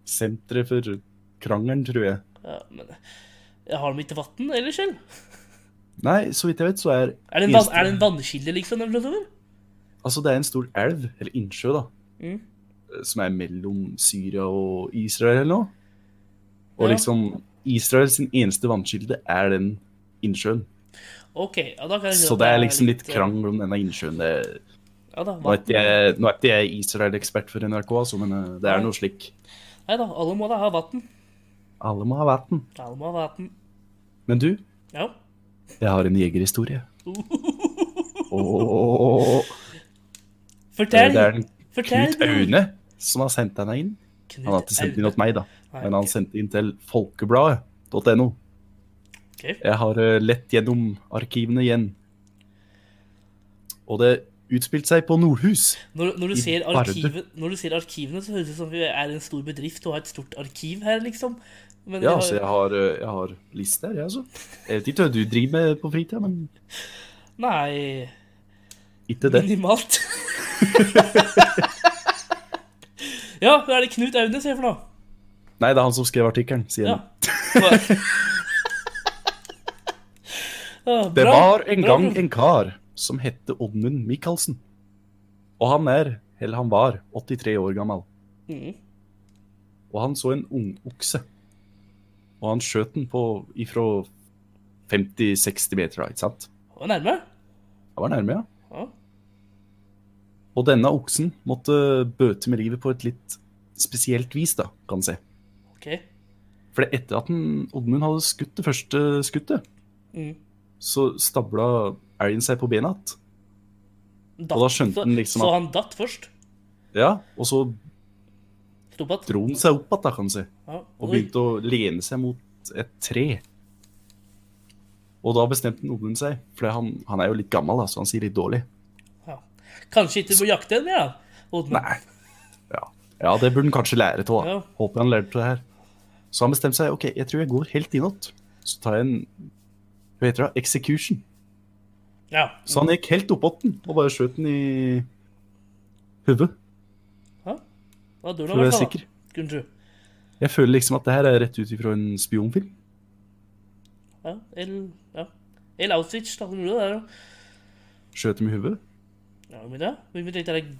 S2: senteret for krangelen, tror jeg.
S3: Ja, men jeg har de ikke vann ellers selv?
S2: Nei, så vidt jeg vet, så er
S3: Er det en, van, er det en vannkilde, liksom? de flytter over?
S2: Altså, det er en stor elv, eller innsjø, da, eh,
S3: Mm.
S2: som er mellom Syria og Israel eller noe. Og
S3: Ja.
S2: liksom Israel sin eneste vannkilde er den innsjøen.
S3: OK. Ja, da kan jeg
S2: Så det er
S3: jeg
S2: liksom litt
S3: eh,
S2: krangel om denne innsjøen. Det,
S3: Ja da,
S2: nå er
S3: vann.
S2: ikke jeg, nå er ikke jeg Israel-ekspert for NRK, altså, men eh, det er noe slik.
S3: Nei da, alle må da ha vann.
S2: Alle må ha vann.
S3: Alle må ha vann.
S2: Men du,
S3: Ja.
S2: jeg har en jegerhistorie. Og det
S3: Fortell.
S2: er en
S3: fortell.
S2: Knut Aune som har sendt denne inn.
S3: Knut
S2: Han har ikke sendt den inn
S3: Aune.
S2: til meg, da.
S3: Nei,
S2: Men han
S3: ok.
S2: sendte inn til folkebladet.no.
S3: Ok.
S2: Jeg har eh, lett gjennom arkivene igjen. Og det utspilte seg på Nordhus.
S3: Når, når, du
S2: i
S3: ser
S2: Bardu.
S3: arkivet, når du ser arkivene, så høres det ut som vi er en stor bedrift og har et stort arkiv her, liksom. Men
S2: Ja,
S3: vi
S2: altså, jeg har, eh, jeg har liste her, jeg, altså. Jeg vet ikke hva du driver med på fritida, men
S3: Nei,
S2: ikke det.
S3: minimalt. ja, hva er det Knut Aune ser for noe?
S2: Nei, det er han som skrev artikkelen, sier
S3: Ja.
S2: han.
S3: Ah,
S2: Det
S3: bra,
S2: var en
S3: bra,
S2: gang
S3: bra.
S2: en kar som hette Oddmund Michaelsen. Og han er, eller han var, 83 år gammel.
S3: Mhm.
S2: Og han så en ungokse. Og han skjøt den på ifra 50-60 meter, da, ikke sant?
S3: Var nærme.
S2: Det var nærme, ja.
S3: Ja.
S2: Og denne oksen måtte bøte med livet på et litt spesielt vis, da, kan en si.
S3: OK.
S2: For etter at den- Oddmund hadde skutt det første skuttet,
S3: Mhm.
S2: så stabla elgen seg på bena igjen.
S3: Datt,
S2: Og da skjønte han liksom
S3: Så,
S2: at-
S3: så han datt først?
S2: Ja, og så
S3: Stopp att?
S2: dro den seg opp igjen, da, kan en si.
S3: Ja.
S2: og
S3: oi.
S2: begynte å lene seg mot et tre. Og da bestemte Odin seg, for han, han er jo litt gammel, da, så han sier litt dårlig.
S3: Ja. Kanskje ikke på jakte enn, ja. Oddmann.
S2: Nei. Ja, ja det burde han kanskje lære av.
S3: Ja.
S2: da. Håper han lærer av det her. Så han bestemte seg ok, jeg tror jeg går helt innåt. Så tar jeg en hva heter det, execution.
S3: Ja.
S2: Så han gikk helt oppåt den og bare skjøt den i hodet,
S3: ja. Da dør
S2: for å
S3: han i
S2: være
S3: hvert fall.
S2: sikker.
S3: da, Kunne tro.
S2: Jeg føler liksom at det her er rett ut ifra en spionfilm.
S3: Ja. Eller ja. Eller Auschwitz, da. Som gjorde det der, da.
S2: Skjøt dem i hodet.
S3: Ja, men ja. Vi begynte litt der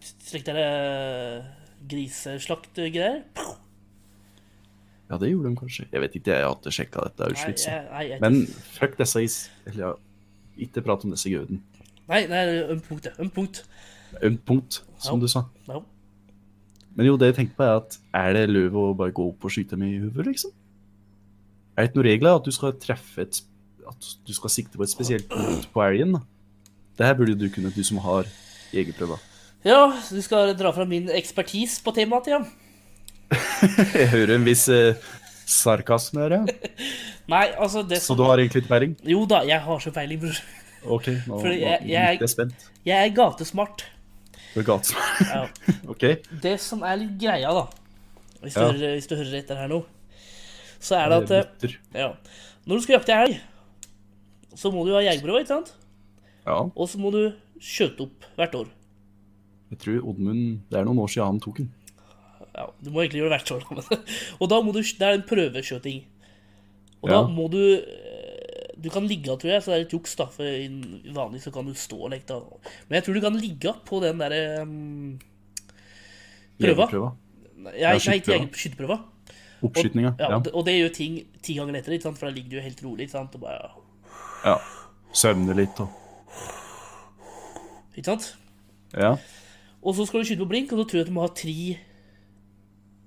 S3: Slik der eh, griseslaktgreier.
S2: Ja, det gjorde de kanskje. Jeg vet ikke, jeg har ikke sjekka dette.
S3: Nei,
S2: Auschwitz,
S3: jeg- nei, jeg-
S2: Men fuck disse is... Eller ja, ikke prat om disse jødene.
S3: Nei, nei, ømt punkt, det. Ømt punkt.
S2: Ømt punkt, som
S3: Ja.
S2: du sa.
S3: Ja.
S2: Men jo, det jeg tenker på er at er det løv å bare gå opp og skyte dem i hodet, liksom? Er det ikke noen regler at du skal treffe et At du skal sikte på et spesielt punkt på elgen? da? Det her burde du kunne, du som har jegerprøva.
S3: ja, du skal dra fra min ekspertise på temaet, ja.
S2: Jeg hører en viss eh, sarkasme her, ja.
S3: Nei, altså det
S2: Så du har egentlig ikke peiling?
S3: Jo da, jeg har så peiling, bror.
S2: OK, nå, nå
S3: Fordi jeg-
S2: jeg
S3: jeg-
S2: er jeg spent.
S3: Jeg er gatesmart.
S2: Du er gatesmann.
S3: Ja.
S2: OK?
S3: Det som er litt greia, da, hvis du,
S2: Ja.
S3: hører, hvis du hører etter her nå, så er det at eh,
S2: Mutter.
S3: ja, Når du skal jakte elg, så må du ha jegerprøve, ikke sant?
S2: Ja,
S3: Og så må du skjøte opp hvert år.
S2: jeg tror Oddmund Det er noen år siden han tok den.
S3: Ja, du må egentlig gjøre det hvert år. da, Men. Og da må du, det er en prøveskjøting. Og da
S2: Ja.
S3: må du eh, Du kan ligge, tror jeg, så det er litt juks, da. For i- vanlig så kan du stå og leke, da. Men jeg tror du kan ligge på den derre um, Prøva?
S2: Jegerprøva.
S3: Nei,
S2: Ja,
S3: nei, ikke
S2: skyteprøva.
S3: jeger- skyteprøva.
S2: Oppskytinga.
S3: Ja,
S2: Ja.
S3: og det- Og det gjør ting ti ganger lettere, ikke sant? for da ligger du helt rolig. Ikke sant? Og bare,
S2: ja. Søvne litt og
S3: ikke sant?
S2: Ja.
S3: Og så skal du skyte på blink, og da tror jeg at du må ha tre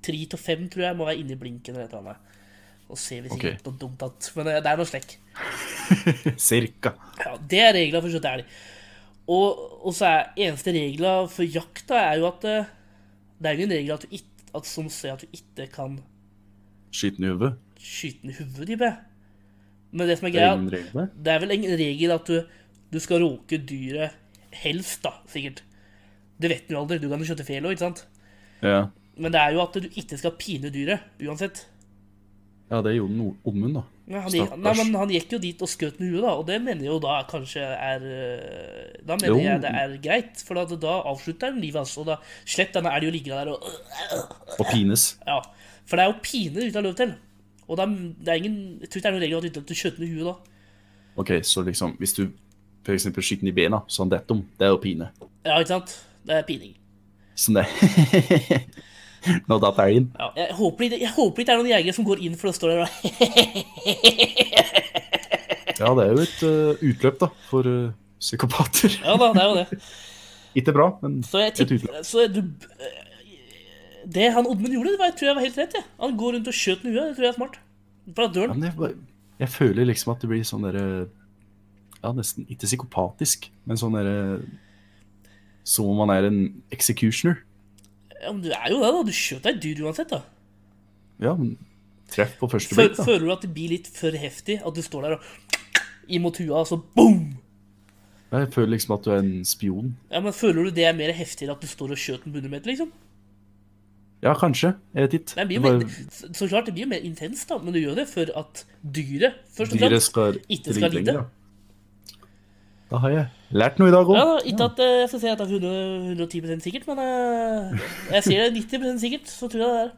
S3: Tre til fem, tror jeg, må være inni blinken eller et eller annet. Og se hvis
S2: Ok.
S3: ikke det er noe dumt at Men eh, det er noe slekk.
S2: Cirka.
S3: Ja, det er regla for skjøteelg. Og, og så er eneste regla for jakt da, er jo at eh, Det er ingen regler at du ikke, at, som sier at du ikke kan
S2: Skyte den i hodet.
S3: skyte den i hodet, tipper jeg. Men det som er
S2: Det er
S3: greia,
S2: ingen regler.
S3: Det er vel en regel at du, du skal råke dyret helst, da, sikkert. Det vet du jo aldri. Du kan jo skjøte fel òg, ikke sant?
S2: Ja.
S3: Men det er jo at du ikke skal pine dyret, uansett.
S2: ja, det gjorde den Oddmund, da.
S3: Nei, han,
S2: Stakkars.
S3: nei, men han gikk jo dit og skjøt med huet, da, og det mener jeg jo da kanskje er øh, Da mener
S2: Jo.
S3: jeg det er greit, for da, da avslutter han livet hans. Og da slett denne elgen å ligge der og øh,
S2: Og pines.
S3: Ja. For det er jo pine du ikke har lov til. Og da, det er ingen, jeg tror ikke det er noen regel at du ikke at du skjøter med huet da.
S2: OK, så liksom Hvis du for eksempel skyter den i bena, så han detter om. Det er jo pine.
S3: Ja, ikke sant? Det er pining.
S2: Sånn det. Nå datt jeg inn.
S3: Ja, jeg, håper ikke, jeg håper ikke det er noen jegere som går inn for å stå der og
S2: Ja, det er jo et eh, utløp, da, for eh, psykopater.
S3: Ja da, det er jo det.
S2: Ikke bra, men
S3: Så jeg
S2: Et
S3: tipper Så du eh, Det han Oddmund gjorde, det var, jeg tror jeg var helt rett. Jeg. Han går rundt og skjøt med huet. Det tror jeg er smart. Fra
S2: Ja,
S3: døren.
S2: men jeg, bare- jeg føler liksom at det blir sånn derre Ja, nesten ikke psykopatisk, men sånn derre Som om man er en executioner.
S3: Ja, men du er jo det, da. Du skjøt deg dyr uansett, da.
S2: Ja, men treff på første
S3: Fø-
S2: blikk, da.
S3: Føler du at det blir litt for heftig? At du står der og imot huet, og så boom!
S2: Jeg føler liksom at du er en spion.
S3: Ja, men Føler du det er mer heftig enn at du står og skjøt en bundemeter, liksom?
S2: Ja, kanskje. Jeg vet ikke.
S3: Det blir
S2: Det
S3: jo
S2: bare-
S3: mer, så så klart, det blir jo mer intenst, da, men du gjør det for at dyret først og
S2: dyret
S3: fremst
S2: skal
S3: ikke skal
S2: ligge
S3: lide.
S2: lenger, Da. da har jeg lært noe i dag òg.
S3: Ja da, ikke at eh, jeg skal si at det er 100, 110 sikkert, men eh, jeg sier det er 90 sikkert, så tror jeg det er.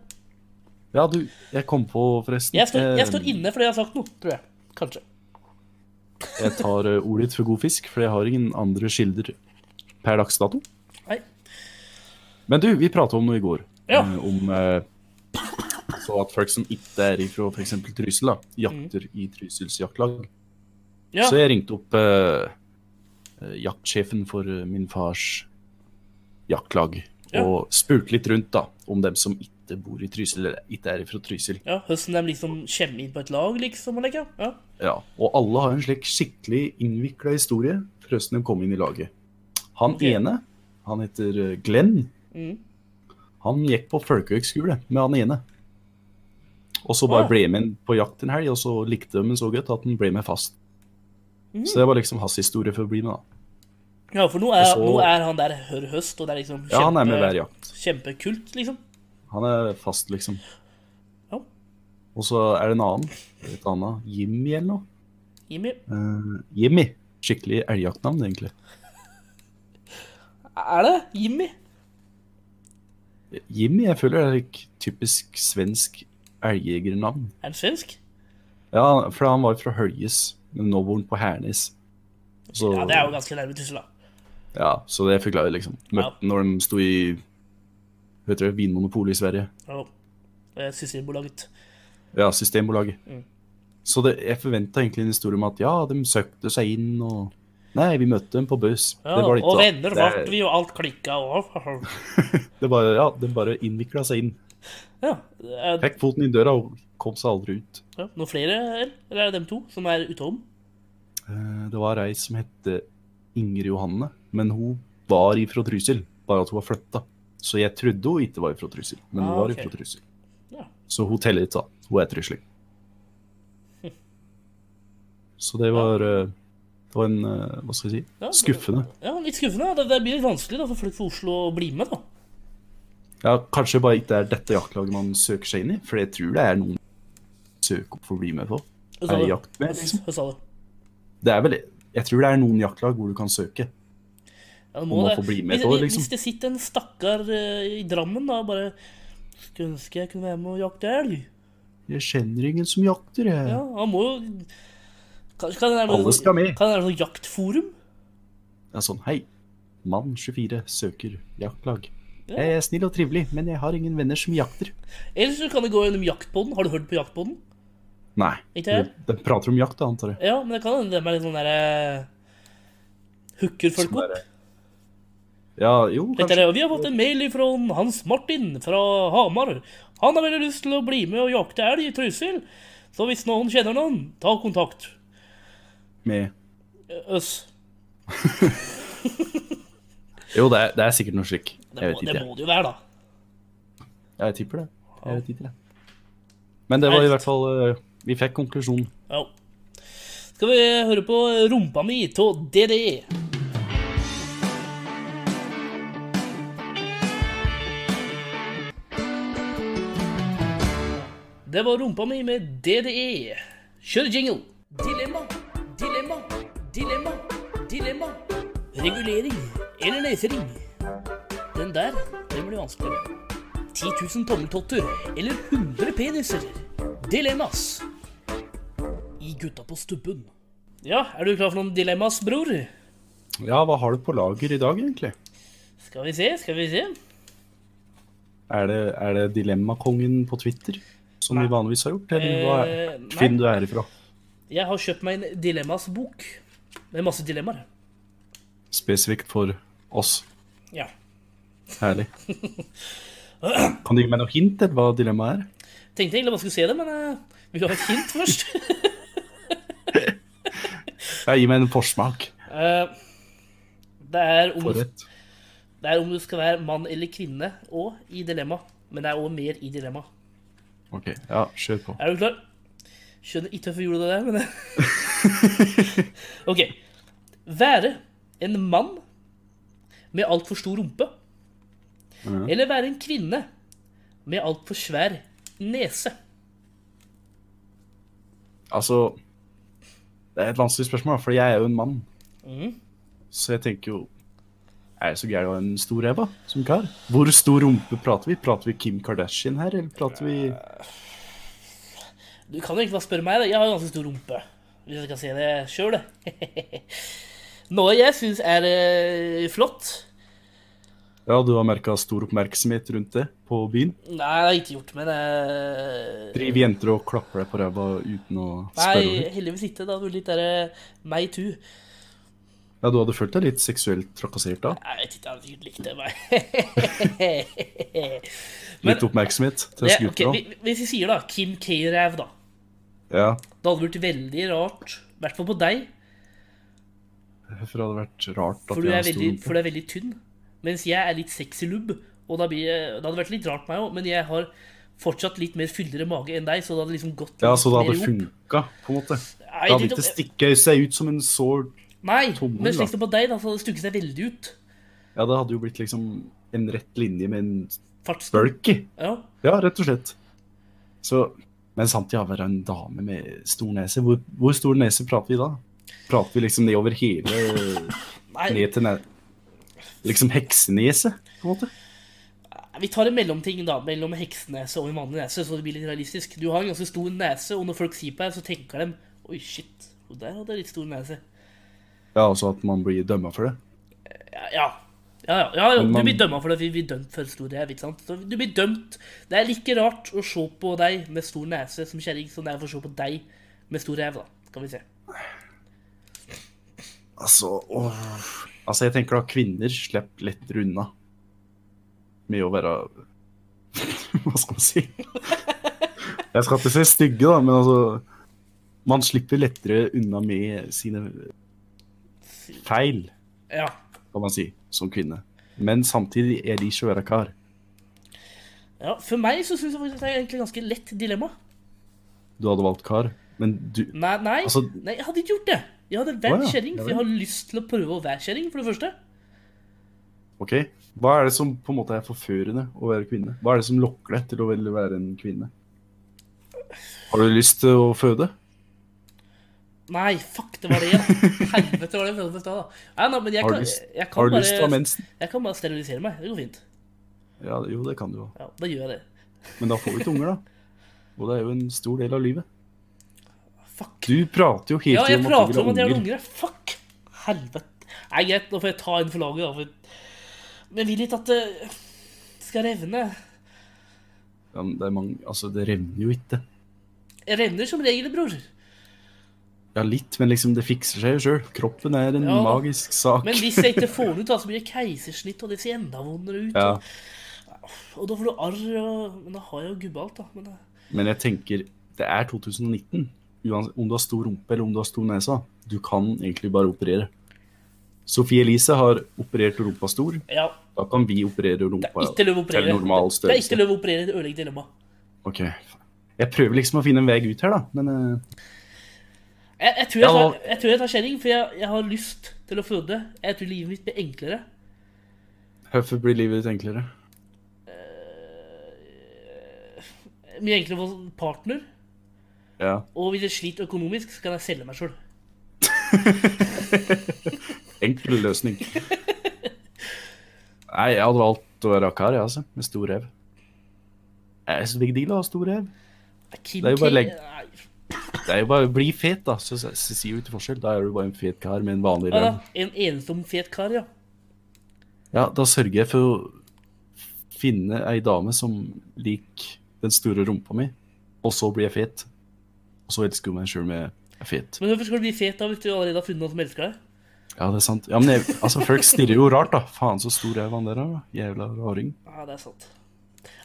S2: Ja, du, jeg kom på, forresten.
S3: Jeg står, jeg
S2: Eh,
S3: står inne for det jeg har sagt nå, tror jeg. Kanskje.
S2: Jeg tar eh, ordet ditt for god fisk, for jeg har ingen andre kilder per dags dato.
S3: Nei.
S2: Men du, vi prata om noe i går.
S3: Ja.
S2: Eh, om eh, så at folk som ikke er ifra f.eks. Trysil, da,
S3: Mm.
S2: jakter i Trysils jaktlag.
S3: Ja,
S2: Så jeg ringte opp eh, eh, jaktsjefen for eh, min fars jaktlag
S3: Ja.
S2: og spurte litt rundt da, om dem som ikke bor i Trysil, eller ikke er ifra Trysil.
S3: ja Høsten de liksom kommer inn på et lag, liksom, og leker. Ja.
S2: Ja, og alle har en slik skikkelig innvikla historie for hvordan de kom inn i laget. Han
S3: Ok.
S2: ene, han heter eh, Glenn,
S3: Mm.
S2: han gikk på folkehøgskole med han ene. Og så bare
S3: Ah.
S2: ble med han på jakt en helg, og så likte de han så godt at han ble med fast.
S3: Mm.
S2: Så det var liksom hans historie for å bli med, da.
S3: ja, for nå er,
S2: Og så-
S3: nå er han der hør høst, og det er liksom
S2: Ja, han er med hver jakt.
S3: kjempekult, liksom.
S2: Han er fast, liksom.
S3: Ja.
S2: Og så er det en annen, et annet, Jimmy eller noe.
S3: Jimmy.
S2: Eh, Jimmy. Skikkelig elgjaktnavn, egentlig.
S3: Er det Jimmy?
S2: Jimmy, jeg føler det er et typisk svensk elgjegernavn.
S3: Er han svensk?
S2: Ja, for han var fra Høljes, men nå bor han på Hernes. Så,
S3: Ja, det er jo ganske nærme Tussel, da.
S2: ja, så det forklarer liksom. Møtte han når de sto i vet dere, Vinmonopolet i Sverige.
S3: Ja. Eh, Systembolaget.
S2: Ja, Systembolaget.
S3: Mm.
S2: Så det, jeg forventa egentlig en historie om at ja, de søkte seg inn og Nei, vi møtte dem på buss.
S3: Ja,
S2: det var litt da.
S3: og venner
S2: Det er-
S3: ble vi, og alt klikka. Og...
S2: Det bare, ja, de bare innvikla seg inn.
S3: Ja, det er-
S2: Fikk foten i døra og kom seg aldri ut.
S3: Ja, noen flere, eller? Eller er det dem to som er utom?
S2: Eh, Det var ei som het Ingrid Johanne, men hun var ifra Trysil, bare at hun var flytta. Så jeg trodde hun ikke var ifra Trysil, men hun
S3: Ah,
S2: var
S3: ok.
S2: ifra Trysil.
S3: Ja.
S2: Så hun teller ikke, da. Hun er trysling. Så det var eh, Det var en eh, Hva skal jeg si?
S3: Ja, det-
S2: Skuffende.
S3: Ja, litt skuffende. da. Det, det blir litt vanskelig da, for folk fra Oslo å bli med, da.
S2: Ja, Kanskje bare ikke det er dette jaktlaget man søker seg inn i, for jeg tror det er noen søker opp for å bli med på.
S3: Altså, Hva
S2: Er
S3: du?
S2: jakt med, liksom?
S3: Hva sa du?
S2: Det er vel, jeg tror det er noen jaktlag hvor du kan søke.
S3: Ja, det
S2: Om
S3: må
S2: man
S3: det.
S2: får bli med
S3: Hvis-
S2: et år,
S3: hvis-
S2: liksom.
S3: Hvis det sitter en stakkar eh, i Drammen da, og bare skulle ønske jeg kunne være med og jakte elg.
S2: Jeg kjenner ingen som jakter, jeg.
S3: Ja, han må jo Kanskje kan det være
S2: Alle
S3: noe,
S2: skal med.
S3: kan det være noe jaktforum?
S2: Det er sånn, hei, mann 24 søker jaktlag.
S3: Ja.
S2: Jeg er snill og trivelig, men jeg har ingen venner som jakter.
S3: Eller så kan det gå gjennom jaktpodden. Har du hørt på jaktpodden?
S2: Nei,
S3: Ikke jeg?
S2: de prater om jakt, da, antar jeg.
S3: Ja, men det kan hende de er litt sånn derre Hooker folk
S2: Som
S3: opp.
S2: er- Ja, jo,
S3: Dette
S2: kanskje.
S3: er, vi har fått en mail fra Hans Martin fra Hamar. Han har veldig lyst til å bli med og jakte elg i Trysil. Så hvis noen kjenner noen, ta kontakt.
S2: Med...
S3: Øss.
S2: Jo, det er, det er sikkert noe slik. Jeg
S3: Det må,
S2: vet
S3: det
S2: ikke.
S3: må det jo være, da.
S2: Ja, jeg tipper det. Jeg vet ikke det. Men det var i
S3: Helt.
S2: hvert fall eh, Vi fikk konklusjonen.
S3: Ja. Skal vi høre på rumpa mi av DD? Det var rumpa mi med DDE. Kjør jingle. Dilemma, dilemma, dilemma, dilemma. Regulering eller løsering. Den der, den blir vanskeligere. 10 000 tommeltotter eller 100 peniser. Dilemmas i Gutta på stubben. Ja, er du klar for noen dilemmas, bror?
S2: Ja, hva har du på lager i dag, egentlig?
S3: Skal vi se, skal vi se.
S2: Er det, er det Dilemmakongen på Twitter, som vi vanligvis har gjort? Eller hva
S3: Eh,
S2: er
S3: nei.
S2: Finn du er ifra?
S3: Jeg har kjøpt meg en dilemmas-bok. Med masse dilemmaer.
S2: Spesifikt for oss.
S3: Ja.
S2: Herlig. Kan du gi meg noe hint eller hva dilemmaet er?
S3: Tenkte egentlig bare skulle se det, men eh, vi har et hint først.
S2: Ja, gi meg en forsmak.
S3: Eh, det, er om, det
S2: Forrett.
S3: er om du skal være mann eller kvinne og i dilemma. Men det er òg mer i dilemma.
S2: Ok, ja, kjør på.
S3: Er du klar? Skjønner ikke hvorfor jeg gjorde det der, men OK. Være en mann med altfor stor rumpe.
S2: Mhm.
S3: Eller være en kvinne med altfor svær nese.
S2: Altså Det er et vanskelig spørsmål, for jeg er jo en mann.
S3: Mhm.
S2: Så jeg tenker jo Er det så gærent å ha en stor ræva som kar? Hvor stor rumpe prater vi? Prater vi Kim Kardashian her, eller prater vi
S3: Du kan jo egentlig bare spørre meg, da. Jeg har ganske stor rumpe. Hvis jeg kan se det sjøl, det. Noe jeg syns er eh, flott
S2: Ja, du har merka stor oppmerksomhet rundt det på byen?
S3: Nei, det har jeg ikke gjort, men eh,
S2: Driver jenter og klapper deg på ræva uten å spørre?
S3: Nei,
S2: over?
S3: heldigvis ikke. Det hadde vært litt derre meg too.
S2: Ja, du hadde følt deg litt seksuelt trakassert da?
S3: Jeg vet ikke, han sikkert likte meg. Men-
S2: Litt oppmerksomhet til
S3: det,
S2: oss
S3: ok,
S2: gutter òg?
S3: vi- hvis vi sier da Kim K-ræv, da.
S2: Ja.
S3: Det hadde vært veldig rart, i hvert fall på deg,
S2: For det hadde vært rart
S3: for
S2: at
S3: du
S2: jeg
S3: er
S2: har stor
S3: veldig, for
S2: rumpe.
S3: du er veldig tynn. Mens jeg er litt sexy lubb, og da blir jeg, det hadde vært litt rart meg òg, men jeg har fortsatt litt mer fyldigere mage enn deg, så det hadde liksom gått
S2: Ja, så det
S3: litt
S2: hadde
S3: mer ihop.
S2: funka, på en måte.
S3: Nei,
S2: Det hadde
S3: litt
S2: ikke
S3: opp-
S2: stikket seg ut som en sår
S3: Nei,
S2: tommel,
S3: men
S2: da.
S3: slik som på deg, da, så hadde det stukket seg veldig ut.
S2: Ja, det hadde jo blitt liksom en rett linje med en
S3: Fartsspøl.
S2: bølk i.
S3: Ja.
S2: Ja, rett og slett. Så, men samtidig å være en dame med stor nese, hvor, hvor stor nese prater vi da? Prater vi liksom ned over hele,
S3: Nei,
S2: ned til ned, liksom heksenese, på en måte?
S3: vi tar en mellomting da, mellom heksenese og en vanlig nese, så det blir litt realistisk. Du har en ganske stor nese, og når folk sier på deg, så tenker de Oi, shit, hun der hadde litt stor nese.
S2: Ja, altså at man blir dømmet for det.
S3: Ja, ja. ja, ja, ja, ja.
S2: Men
S3: Du
S2: man-
S3: blir dømt for det, vi blir dømt for stor ræv, ikke sant? Så du blir dømt. Det er like rart å se på deg med stor nese som kjerring som det er for å se på deg med stor ræv, da. Skal vi se.
S2: Altså, åh. altså jeg tenker da kvinner slipper lettere unna med å være Hva skal man si? Jeg skal ikke se stygge, da, men altså Man slipper lettere unna med sine feil,
S3: Ja.
S2: kan man si, som kvinne. Men samtidig er de ikke å være kar.
S3: ja. For meg så syns jeg faktisk det er egentlig ganske lett dilemma.
S2: Du hadde valgt kar, men du
S3: Nei, nei,
S2: Altså-
S3: nei, jeg hadde ikke gjort det. Jeg hadde vært
S2: Å, ja.
S3: kjerring,
S2: Ja,
S3: for jeg har lyst til å prøve å være kjerring, for det første.
S2: OK? Hva er det som på en måte er forførende å være kvinne? Hva er det som lokker deg til å ville være en kvinne? Har du lyst til å føde?
S3: Nei, fuck, det var det. Ja. Helvete var det jeg følte på i stad. da. Nei, nei, men jeg
S2: Har du
S3: kan,
S2: lyst-
S3: jeg, kan
S2: Har du
S3: bare,
S2: lyst til å ha mensen?
S3: jeg kan bare sterilisere meg. Det går fint.
S2: Ja, jo, det kan du jo.
S3: Ja, Da gjør jeg det.
S2: Men da får vi ikke unger, da. Og det er jo en stor del av livet.
S3: Fuck.
S2: Du prater jo hele
S3: Ja, jeg
S2: tiden
S3: prater
S2: om
S3: om at jeg
S2: vil ha
S3: har
S2: unger.
S3: unger. Fuck! Helvete. Nei, greit, nå får jeg ta inn for laget, da. For... Men jeg vil ikke at det skal revne.
S2: Ja, men det, er mange, altså, det revner jo ikke.
S3: Jeg revner som regel, bror.
S2: Ja, litt, men liksom, det fikser seg jo sjøl. Kroppen er en
S3: Ja.
S2: magisk sak.
S3: Men hvis jeg ikke får den ut, da, så blir det keisersnitt, og det ser enda vondere ut.
S2: Ja,
S3: Og, og da får du arr, og Men da har jeg jo gubbe alt, da. Men eh,
S2: men jeg tenker, det er 2019. Uans om du har stor rumpe eller om du har stor nesa, du kan egentlig bare operere. Sophie Elise har operert rumpa stor.
S3: ja,
S2: Da kan vi operere rumpa
S3: det er ikke lov å
S2: til
S3: operere.
S2: normal
S3: Det er ikke
S2: størrelse.
S3: lov å operere et ødeleggende dilemma.
S2: Ok. Jeg prøver liksom å finne en vei ut her, da. Men eh,
S3: Jeg, jeg, tror jeg,
S2: Ja, og-
S3: tar, jeg tror jeg tar kjerring, for jeg, jeg har lyst til å føde. Jeg tror livet mitt blir enklere.
S2: hvorfor blir livet ditt enklere?
S3: Mye enklere å få partner.
S2: Ja.
S3: Og hvis jeg sliter økonomisk, så kan jeg selge meg sjøl.
S2: Enkel løsning. Nei, jeg hadde valgt å være akar, jeg, altså. Med stor rev. Jeg syns big deal å ha stor rev. Det er jo bare legg- Det er jo bare bli fet, da. Så, så, så sier jo ikke forskjell. Da er du bare en fet kar med en vanlig
S3: Ja, da,
S2: rev.
S3: en ensom, fet kar, ja.
S2: Ja, da sørger jeg for å finne ei dame som liker den store rumpa mi, og så blir jeg fet. Og så elsker hun meg sjøl om jeg er fet.
S3: Men hvorfor skal du bli fet da hvis du allerede har funnet noen som elsker deg?
S2: Ja, det er sant. Ja, men jeg, altså, folk stirrer jo rart, da. Faen, så stor ræv han der er, da. Jævla raring.
S3: Ja, det er sant.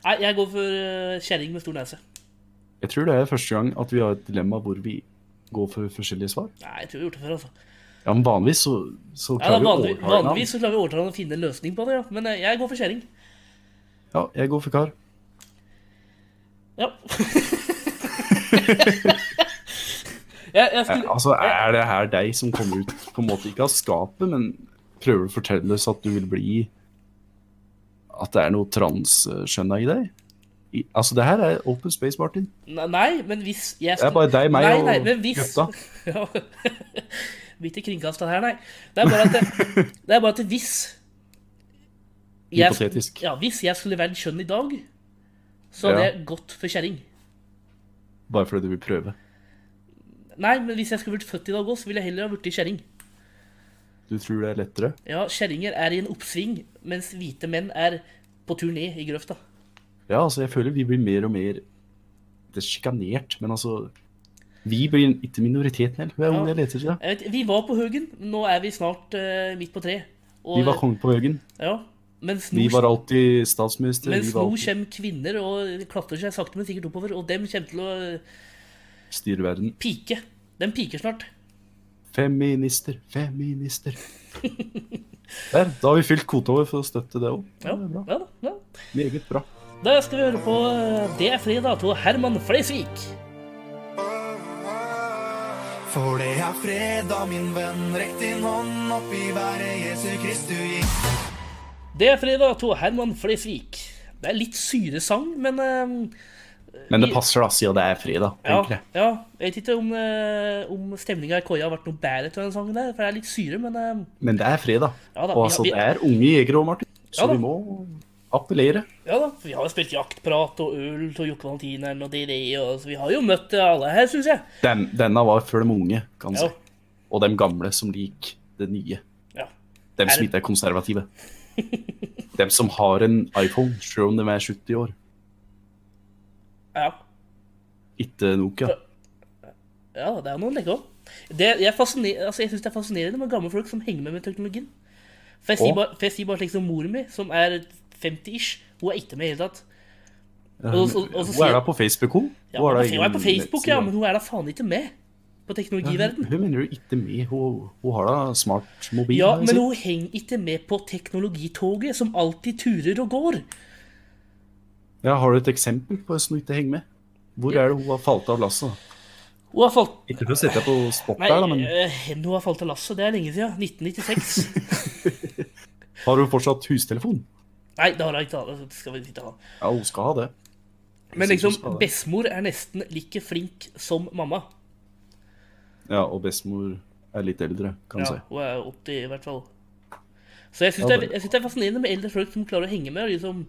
S3: Nei, jeg går for eh, kjerring med stor nese.
S2: Jeg tror det er første gang at vi har et dilemma hvor vi går for forskjellige svar.
S3: Nei, jeg tror vi har gjort det før, altså.
S2: Ja, men vanligvis så, så
S3: Ja, da,
S2: klarer vi å
S3: vanlig,
S2: overtale navn.
S3: vanligvis så klarer vi å overtale han å finne en løsning på det, ja. Men eh, jeg går for kjerring.
S2: Ja, jeg går for kar.
S3: Ja. jeg, jeg
S2: Eh,
S3: skulle
S2: Altså, er det her deg som kommer ut på en måte ikke av skapet, men prøver å fortelle oss at du vil bli At det er noe transskjønna i deg? I, altså, det her er open space, Martin.
S3: Nei, Nei, men hvis jeg
S2: Det er bare deg, meg
S3: nei,
S2: og
S3: nei, men hvis...
S2: gutta.
S3: Ja. Blir ikke kringkasta her, nei. Det er bare at, det, det er bare at hvis
S2: Hypotetisk.
S3: Ja, hvis jeg skulle vært kjønn i dag, så hadde
S2: Ja.
S3: jeg gått for kjerring.
S2: Bare fordi du vil prøve.
S3: Nei, men hvis jeg skulle vært født i dag òg, så ville jeg heller ha blitt kjerring.
S2: Du tror det er lettere?
S3: Ja, kjerringer er i en oppsving, mens hvite menn er på tur ned i grøfta.
S2: Ja, altså, jeg føler vi blir mer og mer Det er sjikanert, men altså Vi blir ikke minoriteten heller. Vi er
S3: Ja.
S2: unge leter til det.
S3: Jeg vet, vi var på Høgen, nå er vi snart eh, midt på treet. Og-
S2: Vi var konge på Haugen.
S3: ja, mens nå,
S2: Vi var alltid statsminister.
S3: mens
S2: Vi var
S3: nå
S2: alltid
S3: kommer kvinner og klatrer seg sakte, men sikkert oppover, og dem kommer til å
S2: styrer verden.
S3: pike. Den piker snart.
S2: Feminister, feminister. Der, da har vi fylt kvota vår for å støtte det òg.
S3: Ja,
S2: bra.
S3: ja, ja.
S2: Meget bra.
S3: Da skal vi høre på eh, Det er fredag av Herman Flesvig.
S1: For det er fredag, min venn, rekk din hånd opp i været, Jesu Kristu gikk.
S3: Det er fredag av Herman Flesvig. Det er litt syresang, men eh,
S2: Men det passer, da, siden det er fredag.
S3: ja,
S2: egentlig.
S3: ja, jeg vet ikke om, eh, om stemninga i koia har vært noe bedre til den sangen der, for det er litt syre, men eh,
S2: Men det er fredag.
S3: Ja da,
S2: og
S3: vi-
S2: altså,
S3: vi-
S2: det er unge jegere òg, Martin. Så
S3: Ja da.
S2: vi må appellere.
S3: ja da. Vi har jo spilt jaktprat og øl og Jokke Valentineren og DDE, og så vi har jo møtt eh, alle her, syns jeg.
S2: Den, denne var før de unge, kan si.
S3: Ja.
S2: Og de gamle som liker det nye.
S3: ja.
S2: Dem
S3: Er
S2: som
S3: det-
S2: ikke er konservative. Dem som har en iPhone, selv om de er 70 år.
S3: ja.
S2: Ikke Nokia.
S3: Ja, det er noe å legge om. Det, jeg fasciner- altså, jeg syns det er fascinerende med gamle folk som henger med med teknologien. For jeg
S2: Å.
S3: sier bare, for jeg sier bare slik som moren min, som er 50-ish, hun er ikke med i det hele tatt. Og, så- og, og
S2: Hun
S3: så sier
S2: er da
S3: jeg
S2: på Facebook, hun.
S3: ja, hun
S2: da
S3: er
S2: ingen
S3: på Facebook, ja,
S2: nettside.
S3: men hun er da faen ikke med på teknologiverden.
S2: Hun mener jo ikke med. Hun, hun har da smart mobil.
S3: Ja,
S2: har jeg
S3: men
S2: sett.
S3: hun henger ikke med på teknologitoget, som alltid turer og går.
S2: ja, har du et eksempel på hvordan hun ikke henger med? Hvor er det hun har falt av lasset? da?
S3: Hun har falt
S2: Ikke for å sette deg på spot
S3: Nei,
S2: der, da, men
S3: øh, hen hun har falt av lasset, det er lenge siden. 1996.
S2: har hun fortsatt hustelefon?
S3: Nei, det har hun ikke. Det skal vi ikke ha.
S2: Ja, hun skal ha det. Jeg synes hun
S3: Men liksom,
S2: skal ha det.
S3: bestemor er nesten like flink som mamma.
S2: Ja, og bestemor er litt eldre, kan du
S3: Ja,
S2: si.
S3: hun er 80 i hvert fall. Så jeg syns
S2: Ja,
S3: det, er-
S2: det-
S3: jeg synes det er fascinerende med eldre folk som klarer å henge med. og Liksom,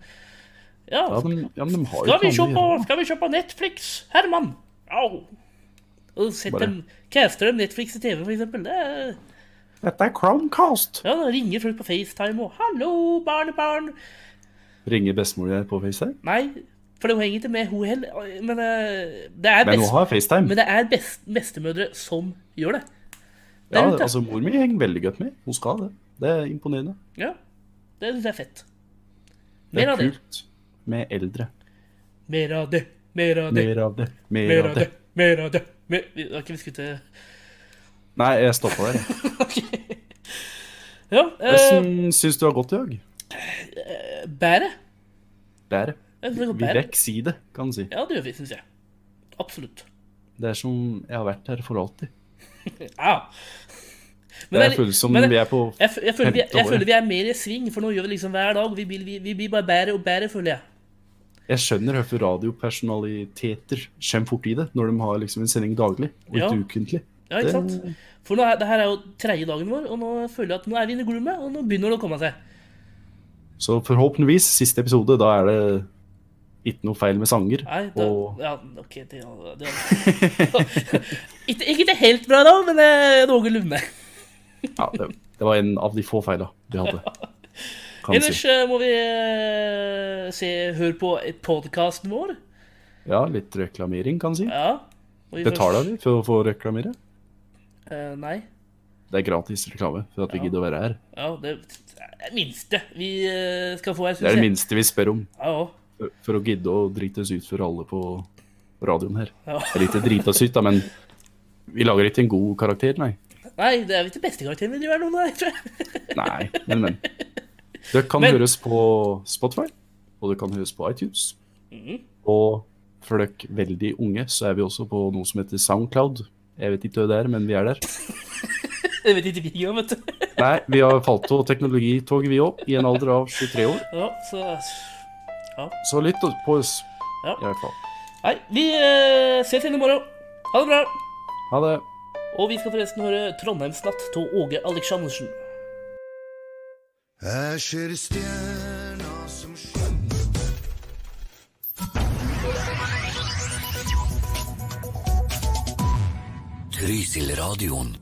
S3: ja,
S2: Ja, de, ja, men de har jo
S3: skal vi
S2: ikke noe
S3: se
S2: annet å
S3: på,
S2: gjøre.
S3: skal vi se på Netflix, Herman? Au. Og sett
S2: Bare-
S3: dem, caster dem Netflix i TV, for eksempel. Det er,
S2: Dette er Chromecast!
S3: ja, da ringer folk på FaceTime og 'Hallo, barnebarn'.
S2: Ringer bestemor di på FaceTime?
S3: Nei, for de henger ikke med hun heller. Men eh, det er,
S2: Men
S3: best,
S2: hun har FaceTime.
S3: men det er best, bestemødre som gjør det.
S2: Ja,
S3: rundt, ja.
S2: altså Mor mi henger veldig godt med. Hun skal det. Det er imponerende.
S3: Ja, Det syns jeg er fett.
S2: Det
S3: Mer
S2: er
S3: av det.
S2: kult med eldre.
S3: Mer av det. Mer av det.
S2: Mer av det. Mer
S3: Mer
S2: av det.
S3: Mer av det. Mer... vi- Ok, vi skulle til
S2: Nei, jeg stoppa der. jeg.
S3: Ja. Eh,
S2: Hvordan syns du det har gått i dag?
S3: bæret.
S2: Det er det.
S3: Jeg synes det går
S2: Vi
S3: bæret.
S2: rekker si det, kan du si.
S3: Ja, det gjør vi, syns jeg. Absolutt.
S2: Det er som jeg har vært her for alltid.
S3: Ja. Men
S2: Det
S3: det er-
S2: føles som
S3: men det-
S2: vi er på
S3: Jeg, f- jeg, føler, vi,
S2: Femte
S3: jeg
S2: året.
S3: føler vi er mer i sving, for nå gjør vi liksom hver dag. Vi blir, vi, vi blir bare bedre og bedre, føler jeg.
S2: Jeg skjønner hvorfor radiopersonaliteter kommer fort i det, når de har liksom en sending daglig, og ikke
S3: Ja.
S2: ukentlig.
S3: Ja, ikke sant? For nå er, det her er jo tredje dagen vår, og nå føler jeg at nå er vi inne i gloomet, og nå begynner det å komme seg.
S2: Så forhåpentligvis, siste episode, da er det ikke noe feil med sanger.
S3: Nei, da,
S2: Og
S3: ja, ok, det, det, ikke, ikke det helt bra da, men eh, noenlunde.
S2: ja, det, det var en av de få feila vi hadde. Kan jeg
S3: Ellers
S2: si.
S3: eh, må vi eh, se, høre på podkasten vår.
S2: Ja, litt reklamering, kan jeg si.
S3: Ja. må vi
S2: Betaler
S3: først-
S2: vi for å få reklamere?
S3: Eh, nei.
S2: Det er gratis reklame for at vi
S3: Ja.
S2: gidder å være her.
S3: Ja, det er det minste vi eh, skal få her,
S2: Det
S3: syns
S2: er det
S3: jeg.
S2: minste vi spør om,
S3: Ja, ja.
S2: for- for å gidde å drite oss ut for alle på radioen her.
S3: Ja.
S2: Eller ikke drite oss ut, da, men vi lager ikke en god karakter, nei.
S3: Nei, det er vel ikke beste karakteren vi driver nå, nei, tror jeg.
S2: Nei, men, men. Det kan
S3: Men-
S2: høres på Spotify, og det kan høres på iTunes.
S3: Mhm.
S2: Og for dere veldig unge, så er vi også på noe som heter Soundcloud. Jeg vet ikke hva det er, men vi er der.
S3: Jeg vet ikke hvilken, vet du.
S2: Nei, vi har falt av teknologitoget, vi òg, i en alder av 23 år.
S3: Ja, så
S2: Så lytt på oss,
S3: Ja.
S2: i hvert fall.
S3: Nei, vi eh, ses igjen i morgen. Ha det bra.
S2: Ha det.
S3: Og vi skal forresten høre 'Trondheimsnatt' av Åge Aleksandersen.
S1: Jeg ser stjerna som skinner
S4: Trysil-radioen.